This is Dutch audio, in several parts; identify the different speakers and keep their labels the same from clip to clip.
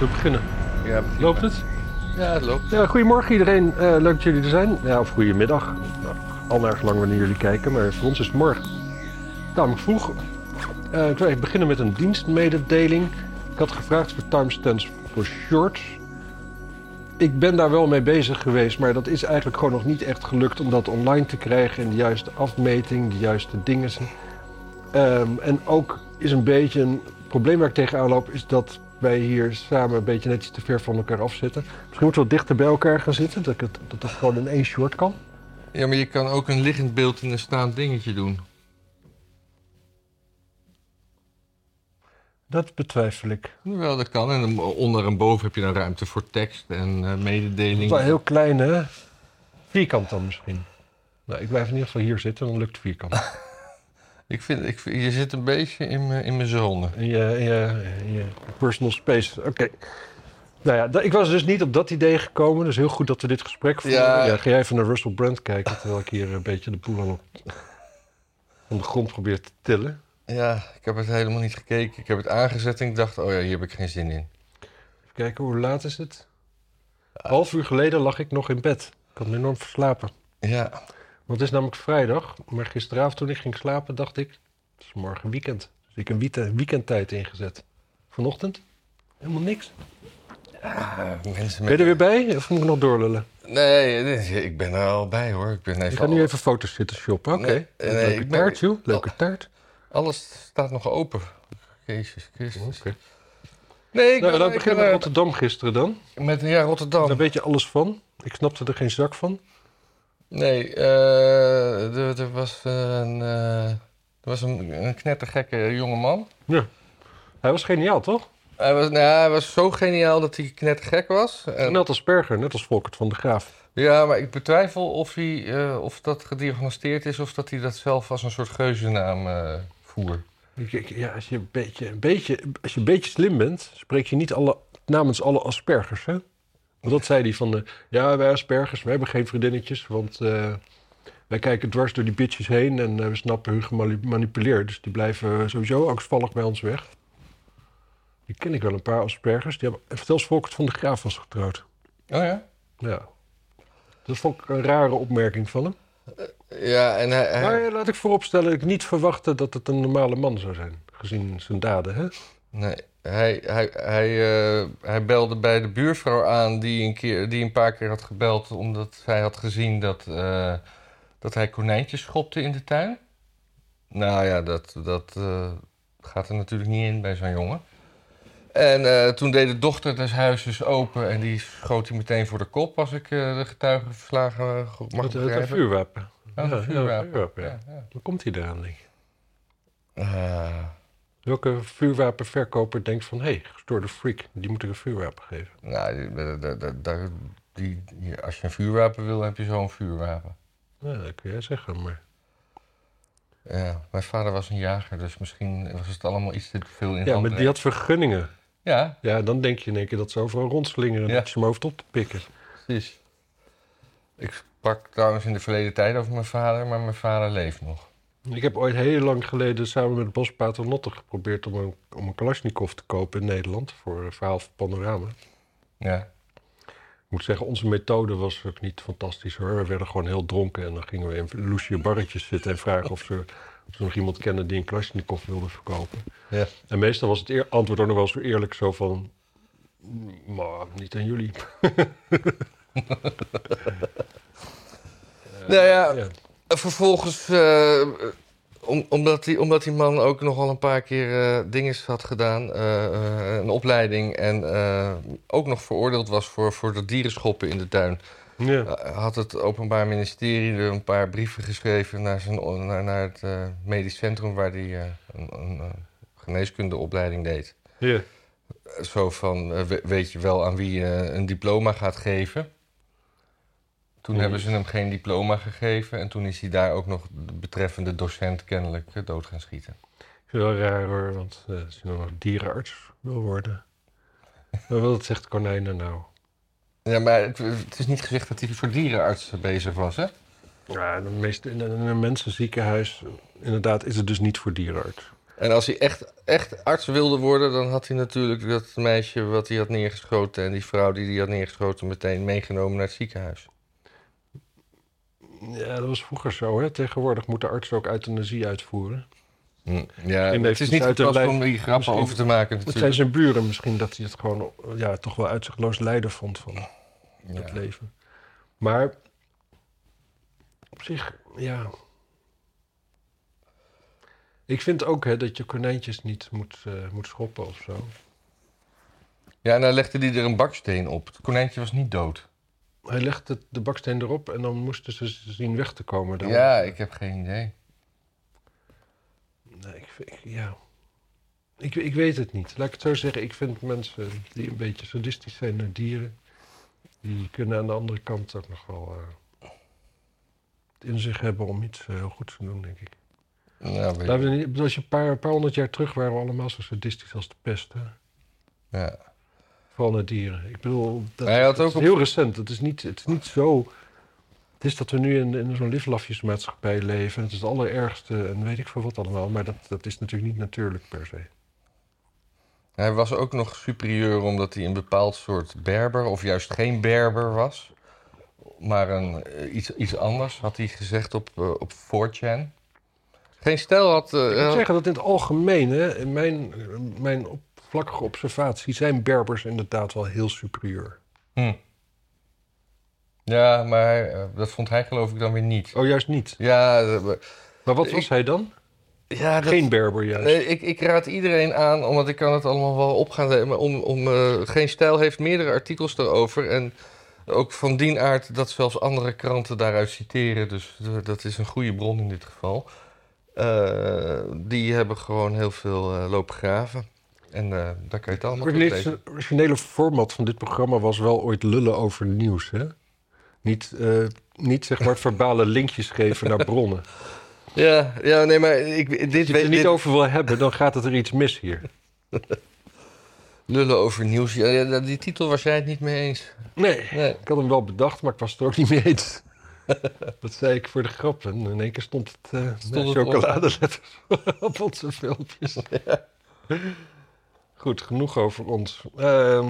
Speaker 1: We beginnen.
Speaker 2: Ja, begin
Speaker 1: Loopt
Speaker 2: maar.
Speaker 1: het?
Speaker 2: Ja, het loopt.
Speaker 1: Ja, goedemorgen iedereen. Eh, leuk dat jullie er zijn. Ja, of goedemiddag. Nou, al naar lang wanneer jullie kijken, maar voor ons is het morgen. Tamelijk vroeg. Eh, ik wil even beginnen met een dienstmededeling. Ik had gevraagd voor timestamps voor shorts. Ik ben daar wel mee bezig geweest, maar dat is eigenlijk gewoon nog niet echt gelukt om dat online te krijgen in de juiste afmeting, de juiste dingen. Ehm, en ook is een beetje een probleem waar ik tegenaan loop, is dat wij hier samen een beetje net iets te ver van elkaar af zitten. Misschien moeten we wat dichter bij elkaar gaan zitten, dat ik het, dat het gewoon in één short kan.
Speaker 2: Ja, maar je kan ook een liggend beeld en een staand dingetje doen.
Speaker 1: Dat betwijfel ik.
Speaker 2: Wel, dat kan. En dan onder en boven heb je dan ruimte voor tekst en eh
Speaker 1: Het is
Speaker 2: mededeling.
Speaker 1: wel heel klein, hè? Vierkant dan misschien. Nou, ik blijf in ieder geval hier zitten, dan lukt vierkant.
Speaker 2: Ik vind, ik, vind- je zit een beetje in mijn, in mijn zone.
Speaker 1: In je, in je, in je personal space, oké. Nou ja, da- ik was dus niet op dat idee gekomen, dus heel goed dat we dit gesprek voeren.
Speaker 2: Ja.
Speaker 1: Ja. ga jij even naar Russell Brand kijken, terwijl ik hier een beetje de boel aan op- aan de grond probeer te tillen.
Speaker 2: Ja, ik heb het helemaal niet gekeken. Ik heb het aangezet en ik dacht, oh ja, hier heb ik geen zin in.
Speaker 1: Even kijken, hoe laat is het? Een half uur geleden lag ik nog in bed. Ik had me enorm verslapen.
Speaker 2: Ja,
Speaker 1: Want het is namelijk vrijdag, maar gisteravond toen ik ging slapen dacht ik... Het is morgen weekend. Dus ik heb een weekendtijd ingezet. Vanochtend? Helemaal niks.
Speaker 2: eh, mensen
Speaker 1: Ben je
Speaker 2: met...
Speaker 1: er weer bij? Of moet ik nog doorlullen?
Speaker 2: Nee, nee, ik ben er al bij hoor. Ik ben even
Speaker 1: Ik ga nu even foto's zitten shoppen. Oké.
Speaker 2: Nee, nee,
Speaker 1: Leuke
Speaker 2: ik ben- Oh.
Speaker 1: taart, joh. Leuke taart.
Speaker 2: Alles staat nog open. Jezus Christus.
Speaker 1: Oké.
Speaker 2: Nee,
Speaker 1: Nou,
Speaker 2: ik ben,
Speaker 1: laten we
Speaker 2: Oh. ik ben,
Speaker 1: Nou, beginnen met
Speaker 2: eh,
Speaker 1: Rotterdam gisteren dan.
Speaker 2: met ja, Rotterdam.
Speaker 1: Daar weet je alles van. Ik snapte er geen zak van.
Speaker 2: Nee, eh, er, er was, een, eh, er was een, een knettergekke jongeman.
Speaker 1: Hij was geniaal, toch?
Speaker 2: Hij was, nou, hij was zo geniaal dat hij knettergek was. En-
Speaker 1: Net als Berger, net als Volkert van de Graaf.
Speaker 2: ja, maar ik betwijfel of, hij, eh, of dat gediagnosteerd is of dat hij dat zelf als een soort geuzennaam eh voer.
Speaker 1: Ik- ik- Ja, als je een beetje, een beetje, als je een beetje slim bent, spreek je niet alle, namens alle aspergers, hè? Want dat zei hij van, eh, ja, wij aspergers, we hebben geen vriendinnetjes, want eh, wij kijken dwars door die bitches heen en eh, we snappen hun gemanipuleerd. Dus die blijven sowieso angstvallig bij ons weg. Die ken ik wel, een paar aspergers. Die hebben, en vertel eens, Volkert van de Graaf was getrouwd.
Speaker 2: Oh ja?
Speaker 1: Ja. Dat vond ik een rare opmerking van hem.
Speaker 2: Ja, en hij, hij-
Speaker 1: Maar eh, laat ik vooropstellen, ik niet verwachtte dat het een normale man zou zijn, gezien zijn daden, hè?
Speaker 2: nee, hij, hij, hij, eh, hij belde bij de buurvrouw aan die een, keer, die een paar keer had gebeld omdat zij had gezien dat, eh, dat hij konijntjes schopte in de tuin. Nou ja, dat, dat eh, gaat er natuurlijk niet in bij zo'n jongen. En eh, toen deed de dochter des huizes open en die schoot hij meteen voor de kop als ik eh, de getuigen verslagen eh, goed mag
Speaker 1: Met het,
Speaker 2: begrijpen.
Speaker 1: vuurwapen.
Speaker 2: Ja, het vuurwapen.
Speaker 1: ja.
Speaker 2: Ja, ja.
Speaker 1: Waar komt hij eraan, denk je?
Speaker 2: Ah,
Speaker 1: Welke vuurwapenverkoper denkt van... hé, hey, gestoorde freak, die moet ik een vuurwapen geven?
Speaker 2: nou, die, daar- daar- daar- die, die- als je een vuurwapen wil, heb je zo'n vuurwapen.
Speaker 1: Nou, dat kun jij zeggen, maar...
Speaker 2: Ja, mijn vader was een jager, dus misschien was het allemaal iets te veel in
Speaker 1: Ja, maar
Speaker 2: handen.
Speaker 1: die had vergunningen.
Speaker 2: Ja,
Speaker 1: Ja, dan denk je in één keer dat ze overal rondslingeren... en
Speaker 2: Ja.
Speaker 1: dat je ze mijn hoofd op te pikken.
Speaker 2: precies. Ik sprak trouwens in de verleden tijd over mijn vader, maar mijn vader leeft nog.
Speaker 1: Ik heb ooit heel lang geleden samen met Bas Paternotte geprobeerd... om een, om een Kalashnikov te kopen in Nederland voor een verhaal van Panorama.
Speaker 2: Ja,
Speaker 1: Ik moet zeggen, onze methode was ook niet fantastisch hoor. We werden gewoon heel dronken en dan gingen we in loesje barretjes zitten en vragen of ze, of ze nog iemand kennen die een Kalashnikov wilde verkopen.
Speaker 2: ja.
Speaker 1: En meestal was het eer- antwoord ook nog wel eens weer eerlijk zo van... "Mm, Maar niet aan jullie.
Speaker 2: nou ja,
Speaker 1: Ja.
Speaker 2: vervolgens, eh, om, omdat, die, omdat die man ook nogal een paar keer eh dingen had gedaan, eh, eh, een opleiding en eh, ook nog veroordeeld was voor, voor dat dierenschoppen in de tuin.
Speaker 1: Ja.
Speaker 2: Uh, had het Openbaar Ministerie er een paar brieven geschreven naar, zijn, naar, naar het eh, medisch centrum waar hij een, een eh, geneeskundeopleiding deed.
Speaker 1: Ja.
Speaker 2: Eh, Zo van, eh, we- weet je wel aan wie je een diploma gaat geven? Toen
Speaker 1: Nee.
Speaker 2: hebben ze hem geen diploma gegeven en toen is hij daar ook nog de betreffende docent kennelijk eh, dood gaan schieten.
Speaker 1: Ik vind het wel raar hoor, want eh, als je dan nog dierenarts wil worden... Maar wat zegt konijnen nou?
Speaker 2: Ja, maar het, het is niet gezegd dat hij voor dierenarts bezig was, hè?
Speaker 1: Ja, de meeste, in een in een mensenziekenhuis, eh, inderdaad, is het dus niet voor dierenarts.
Speaker 2: En als hij echt, echt arts wilde worden, dan had hij natuurlijk dat meisje wat hij had neergeschoten en die vrouw die hij had neergeschoten meteen meegenomen naar het ziekenhuis.
Speaker 1: Ja, dat was vroeger zo. Hè? Tegenwoordig moeten artsen ook euthanasie uitvoeren.
Speaker 2: Hm, Ja,
Speaker 1: heeft
Speaker 2: het is
Speaker 1: het
Speaker 2: niet de
Speaker 1: uit de
Speaker 2: plaats
Speaker 1: lijn-
Speaker 2: om hier grappen
Speaker 1: misschien-
Speaker 2: over te maken
Speaker 1: Het zijn
Speaker 2: natuurlijk.
Speaker 1: zijn buren misschien dat hij het gewoon ja, toch wel uitzichtloos lijden vond van het
Speaker 2: Ja.
Speaker 1: leven. Maar op zich, ja. Ik vind ook hè, dat je konijntjes niet moet, eh, moet schoppen of zo.
Speaker 2: ja, en dan legde hij er een baksteen op. Het konijntje was niet dood.
Speaker 1: Hij legde het- de baksteen erop en dan moesten ze zien weg te komen. Dan.
Speaker 2: Ja, ik heb geen idee.
Speaker 1: Nee, ik, vind- ik- ja. Ik, ik weet het niet. Laat ik het zo zeggen. Ik vind mensen die een beetje sadistisch zijn naar dieren... die kunnen aan de andere kant ook nog wel... eh, het in zich hebben om iets eh, heel goeds te doen, denk ik.
Speaker 2: Ja, Nou, weet
Speaker 1: Laten we niet- ik bedoel, als je een paar, een paar honderd jaar terug waren we allemaal zo sadistisch als de pest. Hè?
Speaker 2: ja.
Speaker 1: Vooral naar dieren. Ik bedoel, dat,
Speaker 2: Hij had
Speaker 1: dat
Speaker 2: ook
Speaker 1: is
Speaker 2: op-
Speaker 1: heel recent. Het is niet, het is niet zo... Het is dat we nu in, in zo'n liflafjesmaatschappij leven. Het is het allerergste en weet ik veel wat allemaal. Maar dat, dat is natuurlijk niet natuurlijk per se.
Speaker 2: Hij was ook nog superieur omdat hij een bepaald soort Berber, of juist geen Berber was, maar een, eh, iets, iets anders, had hij gezegd op, eh, op 4chan. Geen stijl had. eh,
Speaker 1: Ik moet
Speaker 2: had-
Speaker 1: zeggen dat in het algemeen, hè, in mijn, mijn oppervlakkige observatie, zijn Berbers inderdaad wel heel superieur.
Speaker 2: Hm. Ja, maar hij, eh, dat vond hij geloof ik dan weer niet.
Speaker 1: Oh, juist niet.
Speaker 2: Ja, eh,
Speaker 1: Maar wat was
Speaker 2: Ik-
Speaker 1: hij dan?
Speaker 2: ja dat,
Speaker 1: Geen Berber juist.
Speaker 2: Nee, Eh, ik, ik raad iedereen aan, omdat ik kan het allemaal wel op gaan nemen. Om, om, eh, Geen Stijl heeft meerdere artikels daarover. En ook van die aard dat zelfs andere kranten daaruit citeren. Dus eh, dat is een goede bron in dit geval. Eh, die hebben gewoon heel veel eh, lopen graven. En eh, daar kan je het allemaal
Speaker 1: Het
Speaker 2: op lezen.
Speaker 1: originele- originele format van dit programma was wel ooit lullen over nieuws, hè? Niet, eh, niet zeg maar verbale linkjes geven naar bronnen.
Speaker 2: Ja, ja, nee, maar ik,
Speaker 1: Als
Speaker 2: dit
Speaker 1: je het
Speaker 2: weet
Speaker 1: er niet over wil hebben, dan gaat het er iets mis hier.
Speaker 2: Lullen over nieuws. Ja, ja, die titel was jij het niet mee eens.
Speaker 1: Nee.
Speaker 2: Nee.
Speaker 1: Ik had hem wel bedacht, maar ik was het er ook niet mee eens. Dat zei ik voor de grap. En in één keer stond het, eh met
Speaker 2: het op.
Speaker 1: chocoladeletters op onze filmpjes. Goed, genoeg over ons. Ehm,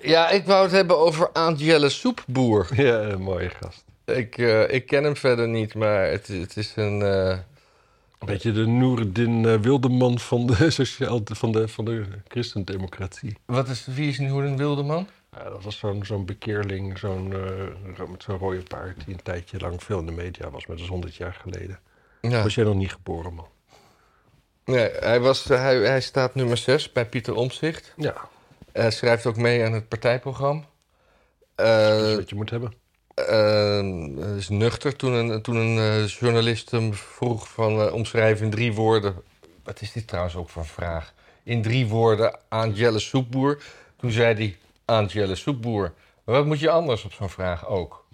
Speaker 2: Ja, ik wou het hebben over Angela Soepboer.
Speaker 1: ja, een mooie gast.
Speaker 2: Ik, eh, ik ken hem verder niet, maar het, het is een. eh,
Speaker 1: Een beetje de Noerdin eh, Wildeman van de, sociaal, van de, van de christendemocratie.
Speaker 2: wat is, wie is nu een wilde man?
Speaker 1: Ja, dat was zo'n zo'n bekeerling, zo'n eh, ro- met zo'n rode paard... die een tijdje lang veel in de media was, maar dat is 100 jaar geleden.
Speaker 2: Ja.
Speaker 1: Was jij nog niet geboren, man?
Speaker 2: Nee, hij, was, hij, hij staat nummer 6 bij Pieter Omzicht.
Speaker 1: Ja,
Speaker 2: Hij schrijft ook mee aan het partijprogramma.
Speaker 1: dat is
Speaker 2: Eh
Speaker 1: wat je moet hebben.
Speaker 2: eh, is nuchter. Toen een, toen een eh, journalist hem vroeg van eh, omschrijf in drie woorden. Wat is dit trouwens ook voor een vraag? In drie woorden aan Jelle Soepboer. Toen zei hij aan Jelle Soepboer. Maar wat moet je anders op zo'n vraag ook?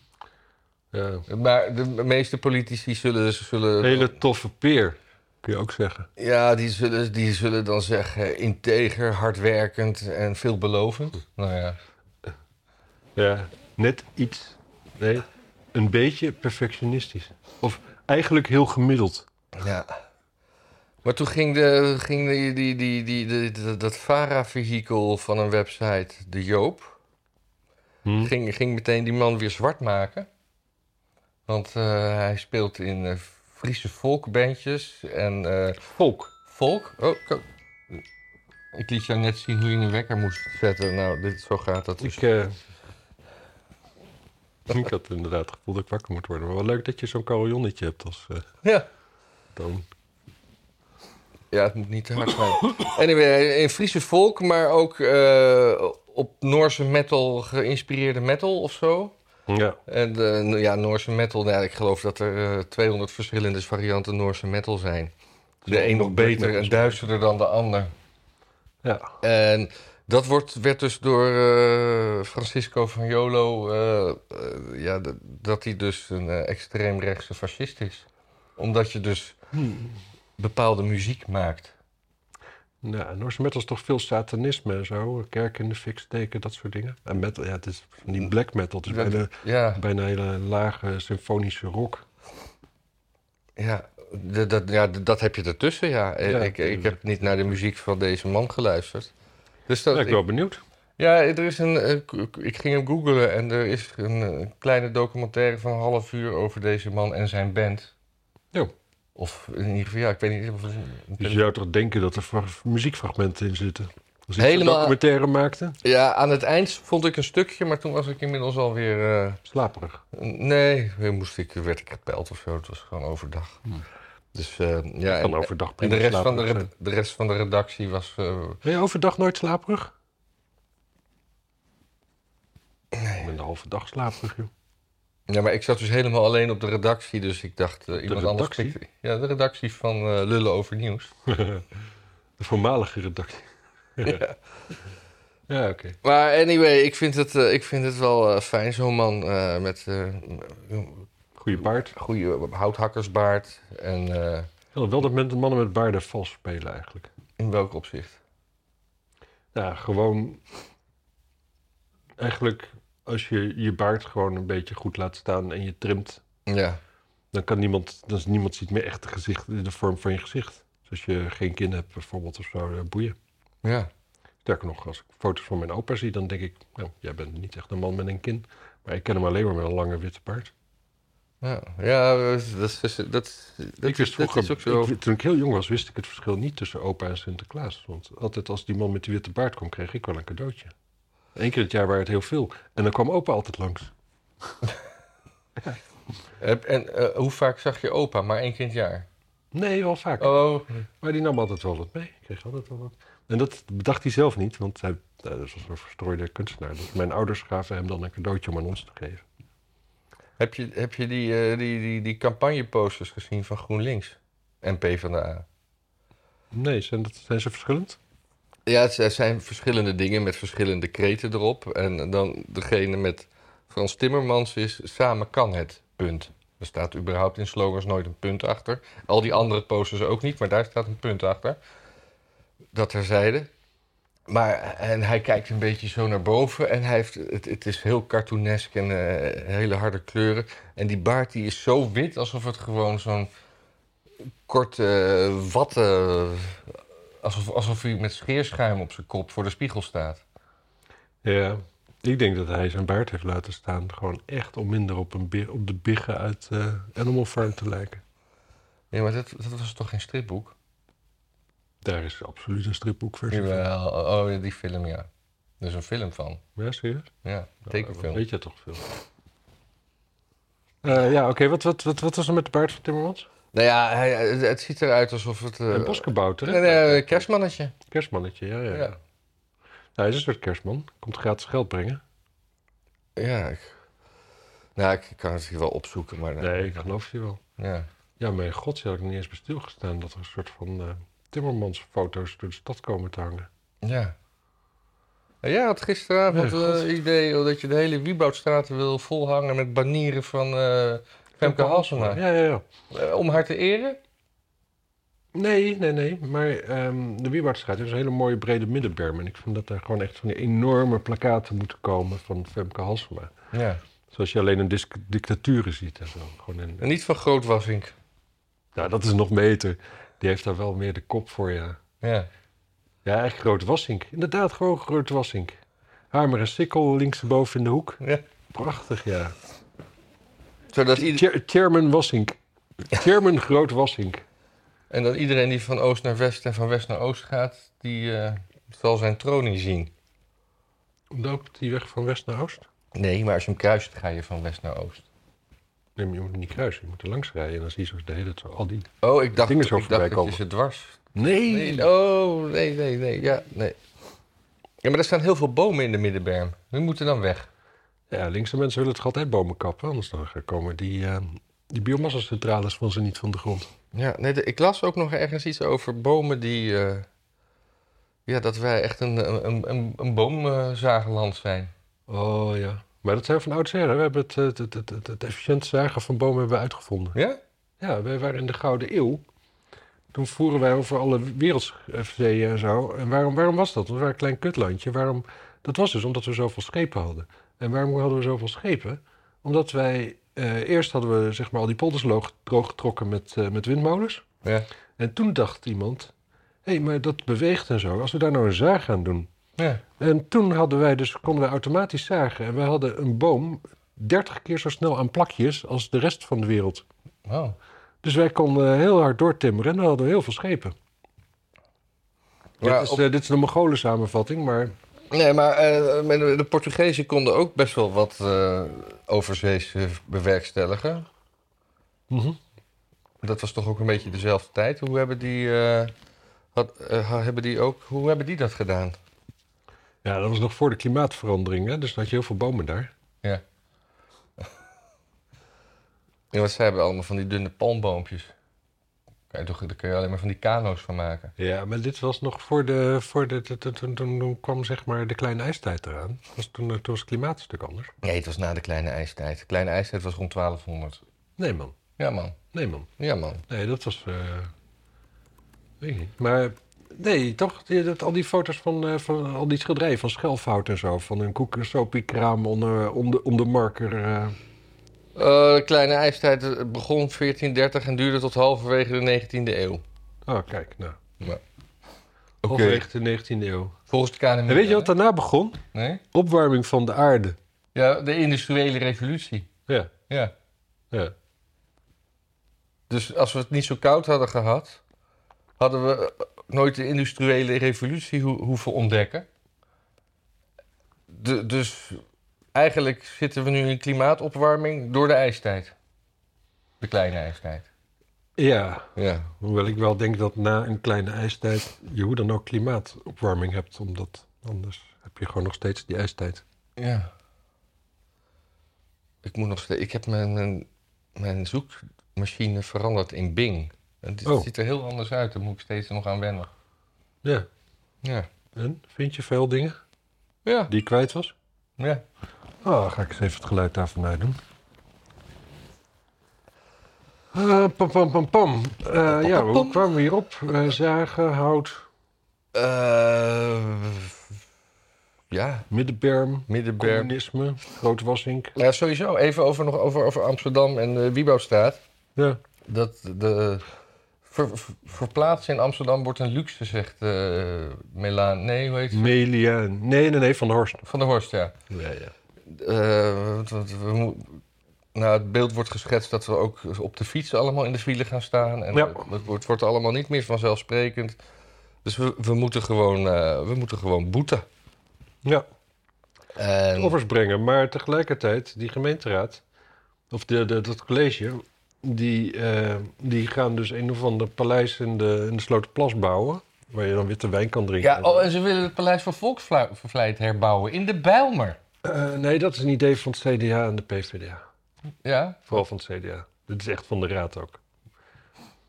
Speaker 1: Ja.
Speaker 2: Maar de meeste politici zullen... dus- zullen
Speaker 1: Hele toffe peer, kun je ook zeggen.
Speaker 2: Ja, die zullen, die zullen dan zeggen integer, hardwerkend en veelbelovend.
Speaker 1: Hm.
Speaker 2: Nou ja.
Speaker 1: Ja. Net iets, nee, een beetje perfectionistisch. Of eigenlijk heel gemiddeld.
Speaker 2: ja. Maar toen ging, de, ging die, die, die, die, die- die- dat VARA-vehikel van een website, de Joop,
Speaker 1: Hm?
Speaker 2: ging, ging meteen die man weer zwart maken. Want eh, hij speelt in eh, Friese volkbandjes en eh,
Speaker 1: Volk.
Speaker 2: volk. Oh, ko- ik liet jou net zien hoe je een wekker moest zetten. Nou, dit, zo gaat dat.
Speaker 1: Ik, eh, ik had inderdaad het gevoel dat ik wakker moet worden. Maar wel leuk dat je zo'n carillonnetje hebt als eh
Speaker 2: Ja.
Speaker 1: toon.
Speaker 2: Ja, het moet niet te hard zijn. Anyway, in Friese volk, maar ook eh, op Noorse metal geïnspireerde metal of zo.
Speaker 1: Ja.
Speaker 2: En eh, nou ja, Noorse metal, nou, ja, ik geloof dat er eh, 200 verschillende varianten Noorse metal zijn. De een nog beter en duisterder dan de ander.
Speaker 1: Ja.
Speaker 2: En dat wordt, werd dus door eh, Francisco van Jolo, eh, eh, ja, d- dat hij dus een eh, extreemrechtse fascist is. Omdat je dus bepaalde muziek maakt.
Speaker 1: Nou, Noorse metal is toch veel satanisme en zo. Kerk in de fik steken, dat soort dingen. En metal, ja, het is niet black metal. Het is
Speaker 2: Dat-
Speaker 1: bijna,
Speaker 2: Ja.
Speaker 1: bijna hele lage symfonische rock.
Speaker 2: Ja, D- dat, ja, d- dat heb je ertussen, ja. Eh,
Speaker 1: Ja,
Speaker 2: ik, ik
Speaker 1: tuurlijk.
Speaker 2: heb niet naar de muziek van deze man geluisterd. Dus dat,
Speaker 1: ben ik wel benieuwd.
Speaker 2: ja, er is een, eh, k- k- ik ging hem googlen en er is een eh, kleine documentaire van een half uur over deze man en zijn band.
Speaker 1: Jo.
Speaker 2: Of in ieder geval, ja, ik weet niet of het een- een
Speaker 1: Dus je zou toch denken dat er fra- muziekfragmenten in zitten? Als ik
Speaker 2: Helemaal-
Speaker 1: een documentaire maakte?
Speaker 2: Ja, aan het eind vond ik een stukje, maar toen was ik inmiddels alweer. eh,
Speaker 1: Slaperig.
Speaker 2: nee, weer moest ik, werd ik gebeld of zo. Het was gewoon overdag.
Speaker 1: Hmm.
Speaker 2: Dus eh, ja,
Speaker 1: Kan
Speaker 2: en,
Speaker 1: overdag
Speaker 2: en
Speaker 1: prima dus,
Speaker 2: de, rest van de,
Speaker 1: slaperig
Speaker 2: red- de rest van de redactie was. eh,
Speaker 1: zijn. Ben je overdag nooit slaperig? Nee. Ik ben de halve dag slaperig, joh.
Speaker 2: ja, maar ik zat dus helemaal alleen op de redactie, dus ik dacht. eh, iemand anders
Speaker 1: redactie?
Speaker 2: pikte- Ja, de redactie van eh, Lullen over Nieuws.
Speaker 1: De voormalige redactie. ja, oké.
Speaker 2: Maar anyway, ik vind het, eh, ik vind het wel eh, fijn, zo'n man eh, met eh, een
Speaker 1: Goeie paard.
Speaker 2: goede houthakkersbaard. En eh,
Speaker 1: Wel dat men- mannen met baarden vals spelen eigenlijk.
Speaker 2: in welk opzicht?
Speaker 1: Ja, gewoon. Eigenlijk, als je je baard gewoon een beetje goed laat staan en je trimt,
Speaker 2: Ja.
Speaker 1: dan kan niemand, dan is niemand ziet meer echt de, gezicht, de vorm van je gezicht. Dus als je geen kin hebt bijvoorbeeld of zo, eh, boeien.
Speaker 2: Ja.
Speaker 1: Sterker nog, als ik foto's van mijn opa zie, dan denk ik, nou, jij bent niet echt een man met een kin. Maar ik ken hem alleen maar met een lange witte baard.
Speaker 2: Ja, ja dat, is- dat, is- dat, dat,
Speaker 1: ik wist vroeger,
Speaker 2: dat is ook zo.
Speaker 1: ik wi- toen ik heel jong was, wist ik het verschil niet tussen opa en Sinterklaas. Want altijd als die man met die witte baard kwam, kreeg ik wel een cadeautje. Eén keer in het jaar waren het heel veel. En dan kwam opa altijd langs.
Speaker 2: Heb- En eh, hoe vaak zag je opa? Maar één keer in het jaar.
Speaker 1: Nee, wel vaak.
Speaker 2: Oh,
Speaker 1: Maar die nam altijd wel wat mee. Ik kreeg altijd wel wat. En dat bedacht hij zelf niet, want hij nou, dat was een verstrooide kunstenaar. Dus mijn ouders gaven hem dan een cadeautje om aan ons te geven.
Speaker 2: heb je, heb je die, eh, die, die, die campagneposters gezien van GroenLinks en PvdA?
Speaker 1: Nee, zijn, dat, zijn ze verschillend?
Speaker 2: Ja, het zijn- zijn verschillende dingen met verschillende kreten erop. En dan degene met Frans Timmermans is samen kan het, punt. Er staat überhaupt in slogans nooit een punt achter. Al die andere posters ook niet, maar daar staat een punt achter. Dat terzijde. Maar, en hij kijkt een beetje zo naar boven en hij heeft, het, het is heel cartoonesk en eh, hele harde kleuren. En die baard die is zo wit alsof het gewoon zo'n korte eh, watten Alsof, alsof hij met scheerschuim op zijn kop voor de spiegel staat.
Speaker 1: Ja. Ik denk dat hij zijn baard heeft laten staan. Gewoon echt om minder op, een, bi- op de biggen uit eh, Animal Farm te lijken.
Speaker 2: Nee, maar dat, dat was toch geen stripboek?
Speaker 1: Daar is absoluut een stripboekversie van.
Speaker 2: Jawel, oh ja, die film, ja. Er is een film van.
Speaker 1: Ja, serieus?
Speaker 2: Ja,
Speaker 1: Dat
Speaker 2: tekenfilm.
Speaker 1: Weet je toch veel? Eh, ja, oké. Wat, wat, wat, wat was er met de baard van Timmermans?
Speaker 2: Nou ja, hij, het- het ziet eruit alsof het... eh,
Speaker 1: een boskabouter, hè?
Speaker 2: een, eh, een kerstmannetje.
Speaker 1: Kerstmannetje, ja, ja.
Speaker 2: Ja.
Speaker 1: ja. Nou, hij is een soort kerstman. Komt gratis geld brengen.
Speaker 2: Ja, ik... Nou, ik kan het hier wel opzoeken, maar... eh,
Speaker 1: Nee, ik geloof je wel.
Speaker 2: Ja.
Speaker 1: Ja, mijn god, daar had ik niet eens bij stilgestaan... dat er een soort van eh Timmermans-foto's door de stad komen te hangen.
Speaker 2: Ja. Nou, Jij had gisteravond
Speaker 1: Nee,
Speaker 2: het
Speaker 1: God.
Speaker 2: idee dat je de hele Wieboudstraat wil volhangen met banieren van eh, Femke Halsema.
Speaker 1: Ja, ja, ja.
Speaker 2: Eh, Om haar te eren?
Speaker 1: Nee, nee, nee. Maar ehm, de Wiebaardstraat is een hele mooie brede middenberm. En ik vind dat daar gewoon echt van die enorme plakaten moeten komen van Femke Halsema.
Speaker 2: Ja.
Speaker 1: Zoals je alleen in dis- dictaturen ziet en zo. Gewoon in,
Speaker 2: En niet van Grootwassink.
Speaker 1: nou, dat is nog beter. Die heeft daar wel meer de kop voor, ja.
Speaker 2: Ja.
Speaker 1: Ja, echt Groot Wassink. Inderdaad, gewoon Groot Wassink. Hamer en sikkel linksboven in de hoek.
Speaker 2: ja.
Speaker 1: Prachtig, ja.
Speaker 2: Zodat ieder-
Speaker 1: Chair- chairman Wassink. Chairman Groot Wassink.
Speaker 2: en dat iedereen die van oost naar west en van west naar oost gaat, die eh, zal zijn troon niet zien.
Speaker 1: Loopt die weg van west naar oost?
Speaker 2: Nee, maar als je hem kruist, ga je van west naar oost.
Speaker 1: Nee, maar je moet hem niet kruisen. Je moet er langs rijden. En dan zie je zo de hele zo al die...
Speaker 2: Oh, ik dacht,
Speaker 1: Dingen
Speaker 2: ik
Speaker 1: zo
Speaker 2: dacht
Speaker 1: voorbij
Speaker 2: dat je
Speaker 1: komen.
Speaker 2: ze dwars...
Speaker 1: Nee!
Speaker 2: Nee, oh, nee, nee, nee, ja, nee. Ja, maar er staan heel veel bomen in de middenberm. Die moeten dan weg.
Speaker 1: Ja, linkse mensen willen toch altijd bomen kappen? Anders dan gaan komen die, eh, die biomassa-centrales van ze niet van de grond.
Speaker 2: Ja, nee, de- ik las ook nog ergens iets over bomen die... eh, ja, dat wij echt een, een, een, een boomzagenland zijn.
Speaker 1: Oh ja. Maar dat zijn van oudsher. hè? We hebben het, eh, het, het, het, het efficiënt zagen van bomen hebben we uitgevonden.
Speaker 2: Ja?
Speaker 1: Ja, wij waren in de Gouden Eeuw. Toen voeren wij over alle wereldzeeën en zo. En waarom, waarom was dat? Want we waren een klein kutlandje. Waarom, dat was dus omdat we zoveel schepen hadden. En waarom hadden we zoveel schepen? Omdat wij eh, eerst hadden we zeg maar, al die polders lo- droog getrokken met, eh, met windmolens.
Speaker 2: Ja.
Speaker 1: En toen dacht iemand, hé, hey, maar dat beweegt en zo. Als we daar nou een zaag aan doen.
Speaker 2: Ja.
Speaker 1: En toen hadden wij dus, konden wij automatisch zagen. En we hadden een boom 30 keer zo snel aan plakjes als de rest van de wereld.
Speaker 2: Oh.
Speaker 1: Dus wij konden heel hard doortimmeren en dan hadden we heel veel schepen.
Speaker 2: Maar
Speaker 1: dit, is,
Speaker 2: op-
Speaker 1: eh, dit is de Mongolen samenvatting, maar
Speaker 2: Nee, maar eh, met de de Portugezen konden ook best wel wat eh overzees eh, bewerkstelligen.
Speaker 1: mhm.
Speaker 2: Dat was toch ook een beetje dezelfde tijd. Hoe hebben die, eh, had, eh, ha- hebben die, ook, hoe hebben die dat gedaan?
Speaker 1: ja, dat was nog voor de klimaatverandering. Hè? Dus dan had je heel veel bomen daar.
Speaker 2: Ja, want zij hebben allemaal van die dunne palmboompjes. Kan je toch, daar kun je alleen maar van die kano's van maken.
Speaker 1: Ja, maar dit was nog voor de... Voor de toen- toen, toen, toen kwam zeg maar de kleine ijstijd eraan. Dat Was toen, toen was het klimaat een stuk anders.
Speaker 2: Nee, het was na de kleine ijstijd. De kleine ijstijd was rond 1200.
Speaker 1: Nee man,
Speaker 2: Ja, man.
Speaker 1: nee man.
Speaker 2: Ja, man.
Speaker 1: Nee, dat was... eh, weet ik niet. Maar nee, toch? Die- dat, al die foto's van, eh, van al die schilderijen van Schelfhout en zo. Van een koekensopiekraam onder, om, de, om de marker. eh.
Speaker 2: Eh, de kleine ijstijd eh, begon 1430 en duurde tot halverwege de 19e eeuw.
Speaker 1: Oh, kijk, nou.
Speaker 2: Ja.
Speaker 1: Halverwege de 19e eeuw.
Speaker 2: Volgens de KNMI.
Speaker 1: En weet je wat daarna begon?
Speaker 2: Nee?
Speaker 1: Opwarming van de aarde.
Speaker 2: Ja, de industriële revolutie.
Speaker 1: Ja,
Speaker 2: Ja.
Speaker 1: ja.
Speaker 2: Dus als we het niet zo koud hadden gehad, hadden we eh, nooit de industriële revolutie ho- hoeven ontdekken. De- dus eigenlijk zitten we nu in klimaatopwarming door de ijstijd. De kleine ijstijd.
Speaker 1: Ja,
Speaker 2: Ja.
Speaker 1: hoewel ik wel denk dat na een kleine ijstijd je hoe dan ook klimaatopwarming hebt. Omdat anders heb je gewoon nog steeds die ijstijd.
Speaker 2: Ja. Ik moet nog steeds. Ik heb mijn, mijn, mijn zoekmachine veranderd in Bing. En dit
Speaker 1: Oh.
Speaker 2: ziet er heel anders uit. Daar moet ik steeds nog aan wennen.
Speaker 1: Ja,
Speaker 2: Ja.
Speaker 1: en vind je veel dingen
Speaker 2: Ja.
Speaker 1: die je kwijt was?
Speaker 2: Ja.
Speaker 1: Oh, ga ik eens even het geluid daarvan uit doen. Eh, pam, pam, pam, pam. Eh, ja, hoe kwamen we hierop? Eh, zagen, hout,
Speaker 2: Eh, ja,
Speaker 1: middenberm,
Speaker 2: Middenberm.
Speaker 1: communisme, grootwassink.
Speaker 2: Nou, sowieso, even over, nog over, over Amsterdam en eh Wiebouwstraat.
Speaker 1: Ja,
Speaker 2: Dat de, ver- ver- verplaatsen in Amsterdam wordt een luxe, zegt eh Melaan. Nee, hoe heet ze?
Speaker 1: Melia. Nee, nee, nee, van de Horst.
Speaker 2: Van der Horst, ja.
Speaker 1: Ja, ja.
Speaker 2: Eh, want- want we mo- nou, het beeld wordt geschetst dat we ook op de fiets allemaal in de wielen gaan staan. En
Speaker 1: Ja.
Speaker 2: het, het wordt, wordt allemaal niet meer vanzelfsprekend. Dus we, we, moeten, gewoon, eh, we moeten gewoon boeten.
Speaker 1: ja.
Speaker 2: En,
Speaker 1: offers brengen. Maar tegelijkertijd, die gemeenteraad, of de, de, dat college, die, eh, die gaan dus een of ander paleis in de, in de Slotenplas bouwen. Waar je dan witte wijn kan drinken.
Speaker 2: Ja, oh, en ze willen het Paleis van Volksvervlijt herbouwen in de Bijlmer.
Speaker 1: Eh, nee, dat is een idee van het CDA en de PvdA.
Speaker 2: Ja,
Speaker 1: Vooral van het CDA. Dit is echt van de raad ook.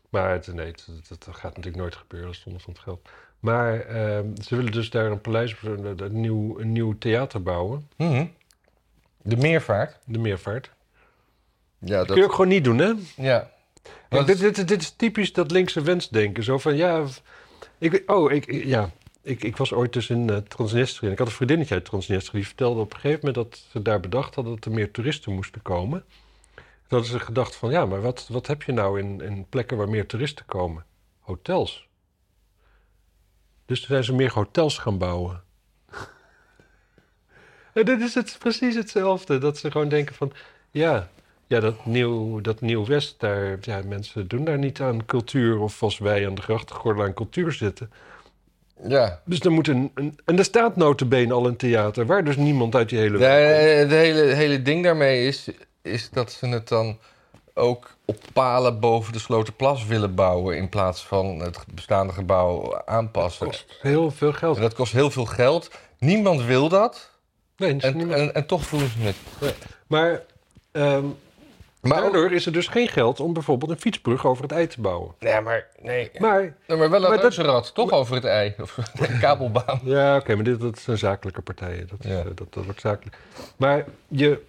Speaker 1: Maar het, nee, het- het- het gaat natuurlijk nooit gebeuren zonder van het geld. Maar eh, ze willen dus daar een paleis, een, een nieuw, een nieuw theater bouwen.
Speaker 2: Mhm. De meervaart.
Speaker 1: De meervaart.
Speaker 2: Ja,
Speaker 1: Dat kun je ook gewoon niet doen, hè?
Speaker 2: ja.
Speaker 1: Kijk,
Speaker 2: Want-
Speaker 1: dit, dit, dit is typisch dat linkse wensdenken. Zo van, ja... v- Ik, oh, ik, ik- ja, ik, ik was ooit dus in eh, Transnistrië. En ik had een vriendinnetje uit Transnistrië. Die vertelde op een gegeven moment dat ze daar bedacht hadden... dat er meer toeristen moesten komen. Toen hadden ze gedacht van... ja, maar wat, wat heb je nou in, in plekken waar meer toeristen komen? Hotels. Dus toen zijn ze meer hotels gaan bouwen. en dit is het, precies hetzelfde. Dat ze gewoon denken van... ja, ja, dat Nieuw, dat nieuw West, daar, ja, mensen doen daar niet aan cultuur. Of als wij aan de grachtengordel aan cultuur zitten.
Speaker 2: ja.
Speaker 1: Dus er moet een, een- En er staat notabene al een theater, waar dus niemand uit die hele...
Speaker 2: Ja, eh, Het hele, hele ding daarmee is, is dat ze het dan ook op palen boven de Sloterplas willen bouwen... in plaats van het bestaande gebouw aanpassen.
Speaker 1: kost heel veel geld.
Speaker 2: En dat kost heel veel geld. Niemand wil dat.
Speaker 1: Nee, dat is
Speaker 2: En,
Speaker 1: niemand.
Speaker 2: en, en toch doen ze het.
Speaker 1: Maar ehm
Speaker 2: Maar, ook-
Speaker 1: daardoor is er dus geen geld om bijvoorbeeld een fietsbrug over het ei te bouwen.
Speaker 2: nee, maar, nee.
Speaker 1: Maar...
Speaker 2: Nee, maar wel een
Speaker 1: Maar dat-
Speaker 2: reuzenrad, toch over het ei. Of een kabelbaan.
Speaker 1: Ja, oké, maar dit, dat zijn zakelijke partijen. Dat, is,
Speaker 2: Ja.
Speaker 1: eh, dat, dat wordt zakelijk. Maar je,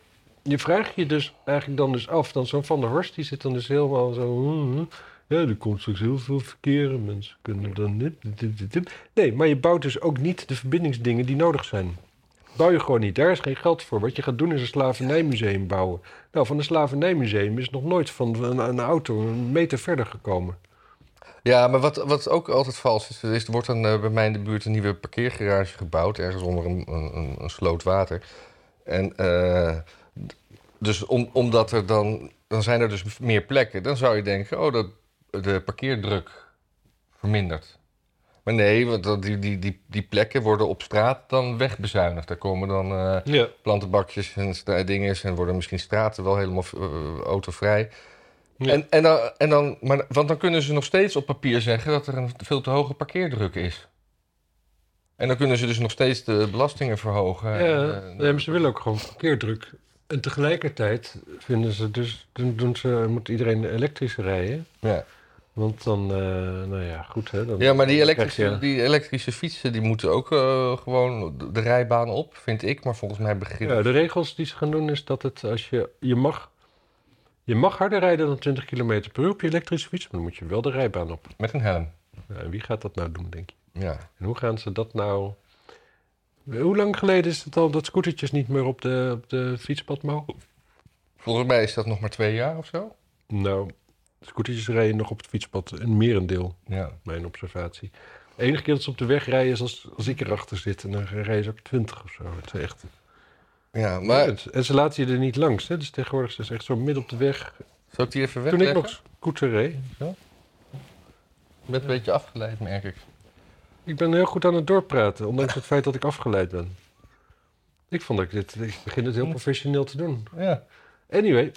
Speaker 1: je vraagt je dus eigenlijk dan dus af. Dan zo'n Van der Horst, die zit dan dus helemaal zo... hmm, ja, er komt straks heel veel verkeer. en Mensen kunnen dan dit, dit, dit, dit. Nee, maar je bouwt dus ook niet de verbindingsdingen die nodig zijn. bouw je gewoon niet. Daar is geen geld voor. Wat je gaat doen is een slavernijmuseum bouwen. Nou, van een slavernijmuseum is nog nooit van een, een auto een meter verder gekomen.
Speaker 2: Ja, maar wat, wat ook altijd vals is, is er wordt dan eh, bij mij in de buurt een nieuwe parkeergarage gebouwd, ergens onder een, een, een sloot water. En eh, d- dus om, omdat er dan, dan zijn er dus meer plekken, dan zou je denken, oh, dat, de parkeerdruk vermindert. Maar nee, want dat- die, die, die, die plekken worden op straat dan wegbezuinigd. Daar komen dan eh,
Speaker 1: Ja.
Speaker 2: plantenbakjes en stra- dingen is en worden misschien straten wel helemaal eh, autovrij.
Speaker 1: Ja.
Speaker 2: En, en dan, en dan, maar, want dan kunnen ze nog steeds op papier zeggen dat er een veel te hoge parkeerdruk is. En dan kunnen ze dus nog steeds de belastingen verhogen.
Speaker 1: Ja,
Speaker 2: En, eh,
Speaker 1: nee, maar ze willen ook gewoon verkeerdruk. En tegelijkertijd vinden ze dus, dan doen ze, moet iedereen elektrisch rijden.
Speaker 2: ja.
Speaker 1: Want dan, eh, nou ja, goed hè. Dan
Speaker 2: ja, maar die
Speaker 1: dan
Speaker 2: elektrische,
Speaker 1: krijg je-
Speaker 2: die elektrische fietsen die moeten ook eh, gewoon de- de rijbaan op, vind ik. Maar volgens mij beginnen.
Speaker 1: Ja, de regels die ze gaan doen is dat het als je, je mag, je mag harder rijden dan 20 km per uur op je elektrische fiets, maar dan moet je wel de rijbaan op.
Speaker 2: Met een helm.
Speaker 1: Nou, en wie gaat dat nou doen, denk je?
Speaker 2: Ja.
Speaker 1: En hoe gaan ze dat nou... Hoe lang geleden is het al dat scootertjes niet meer op de, op de fietspad mogen?
Speaker 2: Volgens mij is dat nog maar twee jaar of zo.
Speaker 1: Nou, scootertjes rijden nog op het fietspad, een merendeel.
Speaker 2: Ja.
Speaker 1: mijn observatie. De enige keer dat ze op de weg rijden is als, als ik erachter zit. En dan rijden ze ook 20 of zo. Het is echt...
Speaker 2: ja maar
Speaker 1: En- En ze laten je er niet langs. Hè? Dus tegenwoordig is het echt zo midden op de weg.
Speaker 2: zal ik die even
Speaker 1: Toen
Speaker 2: wegleggen?
Speaker 1: ik nog scooter reed.
Speaker 2: Ik ben een beetje afgeleid, merk ik.
Speaker 1: Ik ben heel goed aan het doorpraten. Ondanks het feit dat ik afgeleid ben. Ik vond dat ik dit... Ik begin het
Speaker 2: Hm.
Speaker 1: heel professioneel te doen.
Speaker 2: Ja.
Speaker 1: Anyway.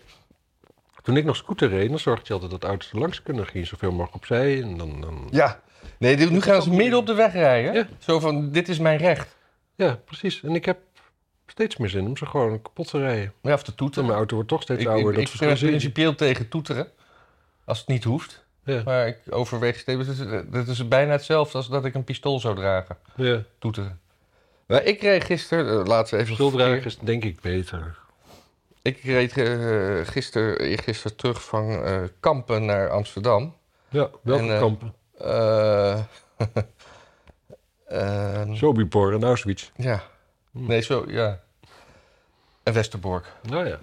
Speaker 1: Toen ik nog scooter reed, dan zorgde je altijd dat auto's er langs kunnen. Dan ging je zoveel mogelijk opzij. En dan... dan...
Speaker 2: Ja. Nee, dit- nu gaan ze midden op de weg rijden.
Speaker 1: Ja.
Speaker 2: Zo van, dit is mijn recht.
Speaker 1: Ja, precies. En ik heb steeds meer zin om ze gewoon kapot te rijden.
Speaker 2: Ja, of te
Speaker 1: Want
Speaker 2: toeteren.
Speaker 1: Mijn auto wordt toch steeds
Speaker 2: Ik,
Speaker 1: ouder.
Speaker 2: ik,
Speaker 1: dat
Speaker 2: ik
Speaker 1: is
Speaker 2: ben
Speaker 1: waanzinnig.
Speaker 2: principieel tegen toeteren. Als het niet hoeft.
Speaker 1: Ja.
Speaker 2: Maar ik overweeg steeds... Dat is, dat is bijna hetzelfde als dat ik een pistool zou dragen.
Speaker 1: Ja,
Speaker 2: Toeteren. Maar ik reed gisteren... eh, laten we even...
Speaker 1: schuldragen is denk ik beter.
Speaker 2: Ik reed eh, gister, gisteren terug van eh, Kampen naar Amsterdam.
Speaker 1: Ja, welke
Speaker 2: En, eh,
Speaker 1: kampen?
Speaker 2: Eh ehm,
Speaker 1: Sobibor en Auschwitz.
Speaker 2: ja. Nee, zo, ja. En Westerbork.
Speaker 1: Nou ja.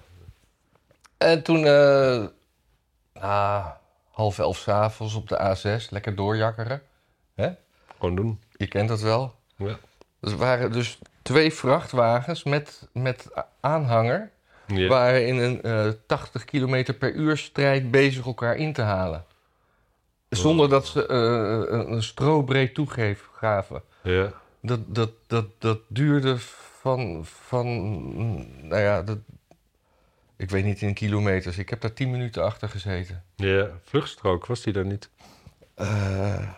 Speaker 2: En toen, eh, na half elf s'avonds op de A6, lekker doorjakkeren.
Speaker 1: Gewoon doen.
Speaker 2: Je kent dat wel.
Speaker 1: Ja.
Speaker 2: Er waren dus twee vrachtwagens met, met a- aanhanger.
Speaker 1: Ja.
Speaker 2: waren in een eh 80 km per uur strijd bezig elkaar in te halen. Zonder dat ze eh, een, een strobreed toegeef gaven.
Speaker 1: Ja.
Speaker 2: Dat, dat, dat, dat duurde van, van, nou ja, dat, ik weet niet in kilometers. Ik heb daar 10 minuten achter gezeten.
Speaker 1: ja, vluchtstrook was die daar niet.
Speaker 2: Eh,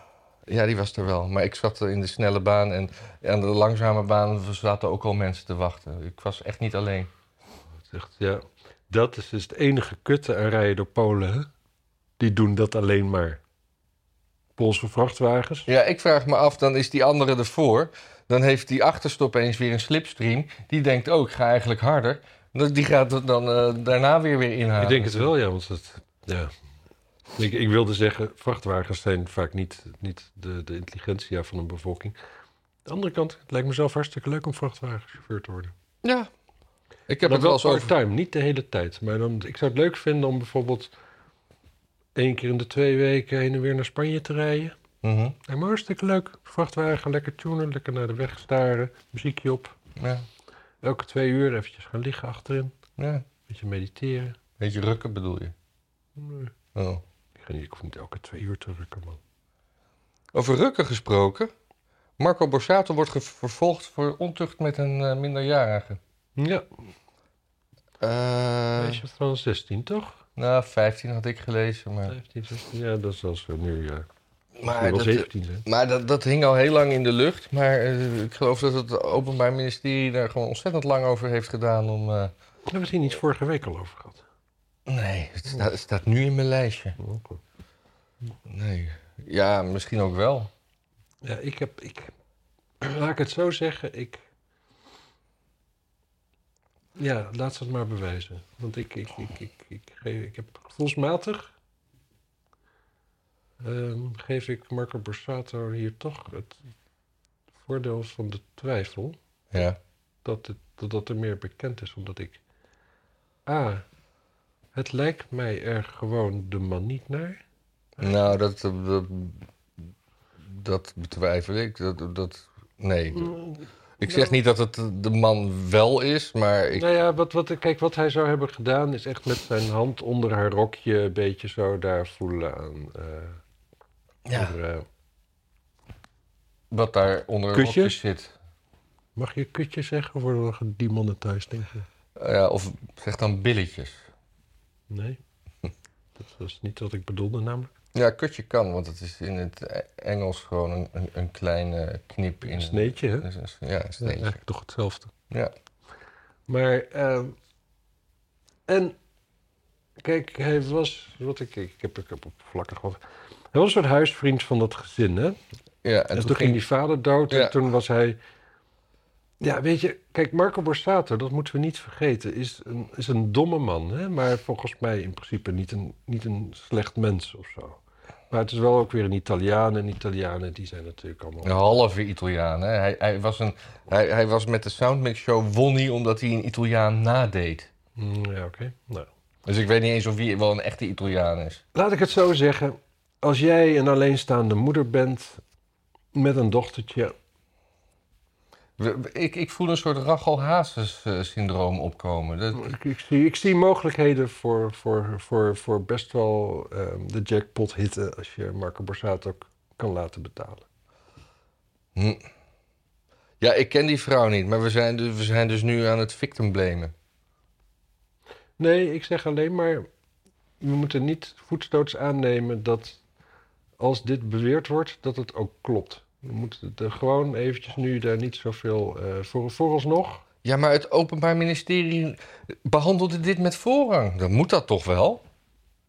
Speaker 2: ja, die was er wel. Maar ik zat in de snelle baan en aan de langzame baan zaten ook al mensen te wachten. Ik was echt niet alleen.
Speaker 1: Dat is echt- ja. Dat is dus het enige kutte aan rijden door Polen. hè? Die doen dat alleen maar. Poolse vrachtwagens.
Speaker 2: Ja, ik vraag me af, dan is die andere ervoor. Dan heeft die achterste opeens weer een slipstream. Die denkt, oh, ik ga eigenlijk harder. Dat- Die gaat het dan eh, daarna weer weer inhalen.
Speaker 1: Ik denk het wel, ja. Want het, ja. Ik, ik wilde zeggen, vrachtwagens zijn vaak niet, niet de, de intelligentia van een bevolking. Aan de andere kant, het lijkt mezelf hartstikke leuk om vrachtwagenchauffeur te worden.
Speaker 2: Ja. Ik heb
Speaker 1: Maar
Speaker 2: het wel eens
Speaker 1: wel
Speaker 2: over...
Speaker 1: part-time, niet de hele tijd. Maar dan, ik zou het leuk vinden om bijvoorbeeld één keer in de twee weken heen en weer naar Spanje te rijden.
Speaker 2: Mhm,
Speaker 1: Lijkt me hartstikke leuk. Vrachtwagen, lekker tunen, lekker naar de weg staren, muziekje op.
Speaker 2: ja.
Speaker 1: Elke twee uur eventjes gaan liggen achterin,
Speaker 2: ja.
Speaker 1: een beetje mediteren.
Speaker 2: Beetje rukken bedoel je?
Speaker 1: Nee,
Speaker 2: Oh.
Speaker 1: Ik, ga niet, ik hoef niet elke twee uur te rukken, man.
Speaker 2: Over rukken gesproken. Marco Borsato wordt ge- vervolgd voor ontucht met een eh, minderjarige.
Speaker 1: Ja,
Speaker 2: Eh,
Speaker 1: meisje van 16, toch?
Speaker 2: nou, 15 had ik gelezen, maar...
Speaker 1: 15, 16, ja, dat is als we nu, ja, nu
Speaker 2: Maar
Speaker 1: wel
Speaker 2: dat, eh,
Speaker 1: 17 zijn.
Speaker 2: Maar dat, dat hing al heel lang in de lucht. Maar eh, ik geloof dat het Openbaar Ministerie daar gewoon ontzettend lang over heeft gedaan om. eh,
Speaker 1: Daar hebben we het hier niet vorige week al over gehad.
Speaker 2: nee, het sta- het staat nu in mijn lijstje. Nee. Ja, misschien ook wel.
Speaker 1: Ja, ik heb. Ik, laat ik het zo zeggen, ik. Ja, laat ze het maar bewijzen. Want ik, ik, ik, ik, ik, geef- ik heb gevoelsmatig. ehm, geef ik Marco Borsato hier toch het voordeel van de twijfel.
Speaker 2: Ja.
Speaker 1: dat, het, dat, dat er meer bekend is, omdat ik... A, het lijkt mij er gewoon de man niet naar.
Speaker 2: Nou, dat, eh, dat, dat betwijfel ik. Dat, dat, nee.
Speaker 1: Mm.
Speaker 2: Ik zeg niet dat het de man wel is, maar ik,
Speaker 1: Nou ja, wat, wat, kijk, wat hij zou hebben gedaan is echt met zijn hand onder haar rokje een beetje zo daar voelen aan. eh,
Speaker 2: Ja.
Speaker 1: onder, eh,
Speaker 2: wat daar onder
Speaker 1: Kusjes?
Speaker 2: rokjes zit.
Speaker 1: mag je kutje zeggen of worden we gedemonetized, denk je?
Speaker 2: Ja, of zeg dan billetjes.
Speaker 1: Nee. Dat was niet wat ik bedoelde namelijk.
Speaker 2: Ja, kutje kan, want het is in het E- Engels gewoon een, een, een kleine knip in
Speaker 1: Een sneetje, hè?
Speaker 2: een- een- een- Ja, een
Speaker 1: Ja,
Speaker 2: sneetje.
Speaker 1: eigenlijk toch hetzelfde.
Speaker 2: Ja.
Speaker 1: Maar, ehm, en, kijk, hij was, wat ik, ik heb, ik heb oppervlakkig wat. Hij was een soort huisvriend van dat gezin, hè?
Speaker 2: ja,
Speaker 1: En, Dus toen ging die vader dood
Speaker 2: Ja.
Speaker 1: en toen was hij... Ja, weet je, kijk, Marco Borsato, dat moeten we niet vergeten, is een, is een domme man. Hè? Maar volgens mij in principe niet een, niet een slecht mens of zo. Maar het is wel ook weer een Italiaan en Italianen, die zijn natuurlijk allemaal...
Speaker 2: Een halve Italiaan. Hè? Hij, hij, was een, hij, hij was met de Soundmix Show won hij omdat hij een Italiaan nadeed.
Speaker 1: Mm, ja oké. Nou.
Speaker 2: Dus ik weet niet eens of hij wel een echte Italiaan is.
Speaker 1: Laat ik het zo zeggen. Als jij een alleenstaande moeder bent met een dochtertje...
Speaker 2: We- we- Ik, ik voel een soort Rachel Hazes eh, syndroom opkomen. Dat,
Speaker 1: Ik, ik zie, ik zie mogelijkheden voor, voor, voor, voor best wel ehm, de jackpot hitten... als je Marco Borsato k- kan laten betalen.
Speaker 2: Hm. Ja, ik ken die vrouw niet, maar we zijn, dus, we zijn dus nu aan het victim blamen.
Speaker 1: Nee, ik zeg alleen maar... we moeten niet voetstoots aannemen dat... als dit beweerd wordt, dat het ook klopt. We moeten het er gewoon eventjes nu daar niet zoveel... eh voor, vooralsnog...
Speaker 2: Ja, maar het Openbaar Ministerie behandelde dit met voorrang. Dan moet dat toch wel?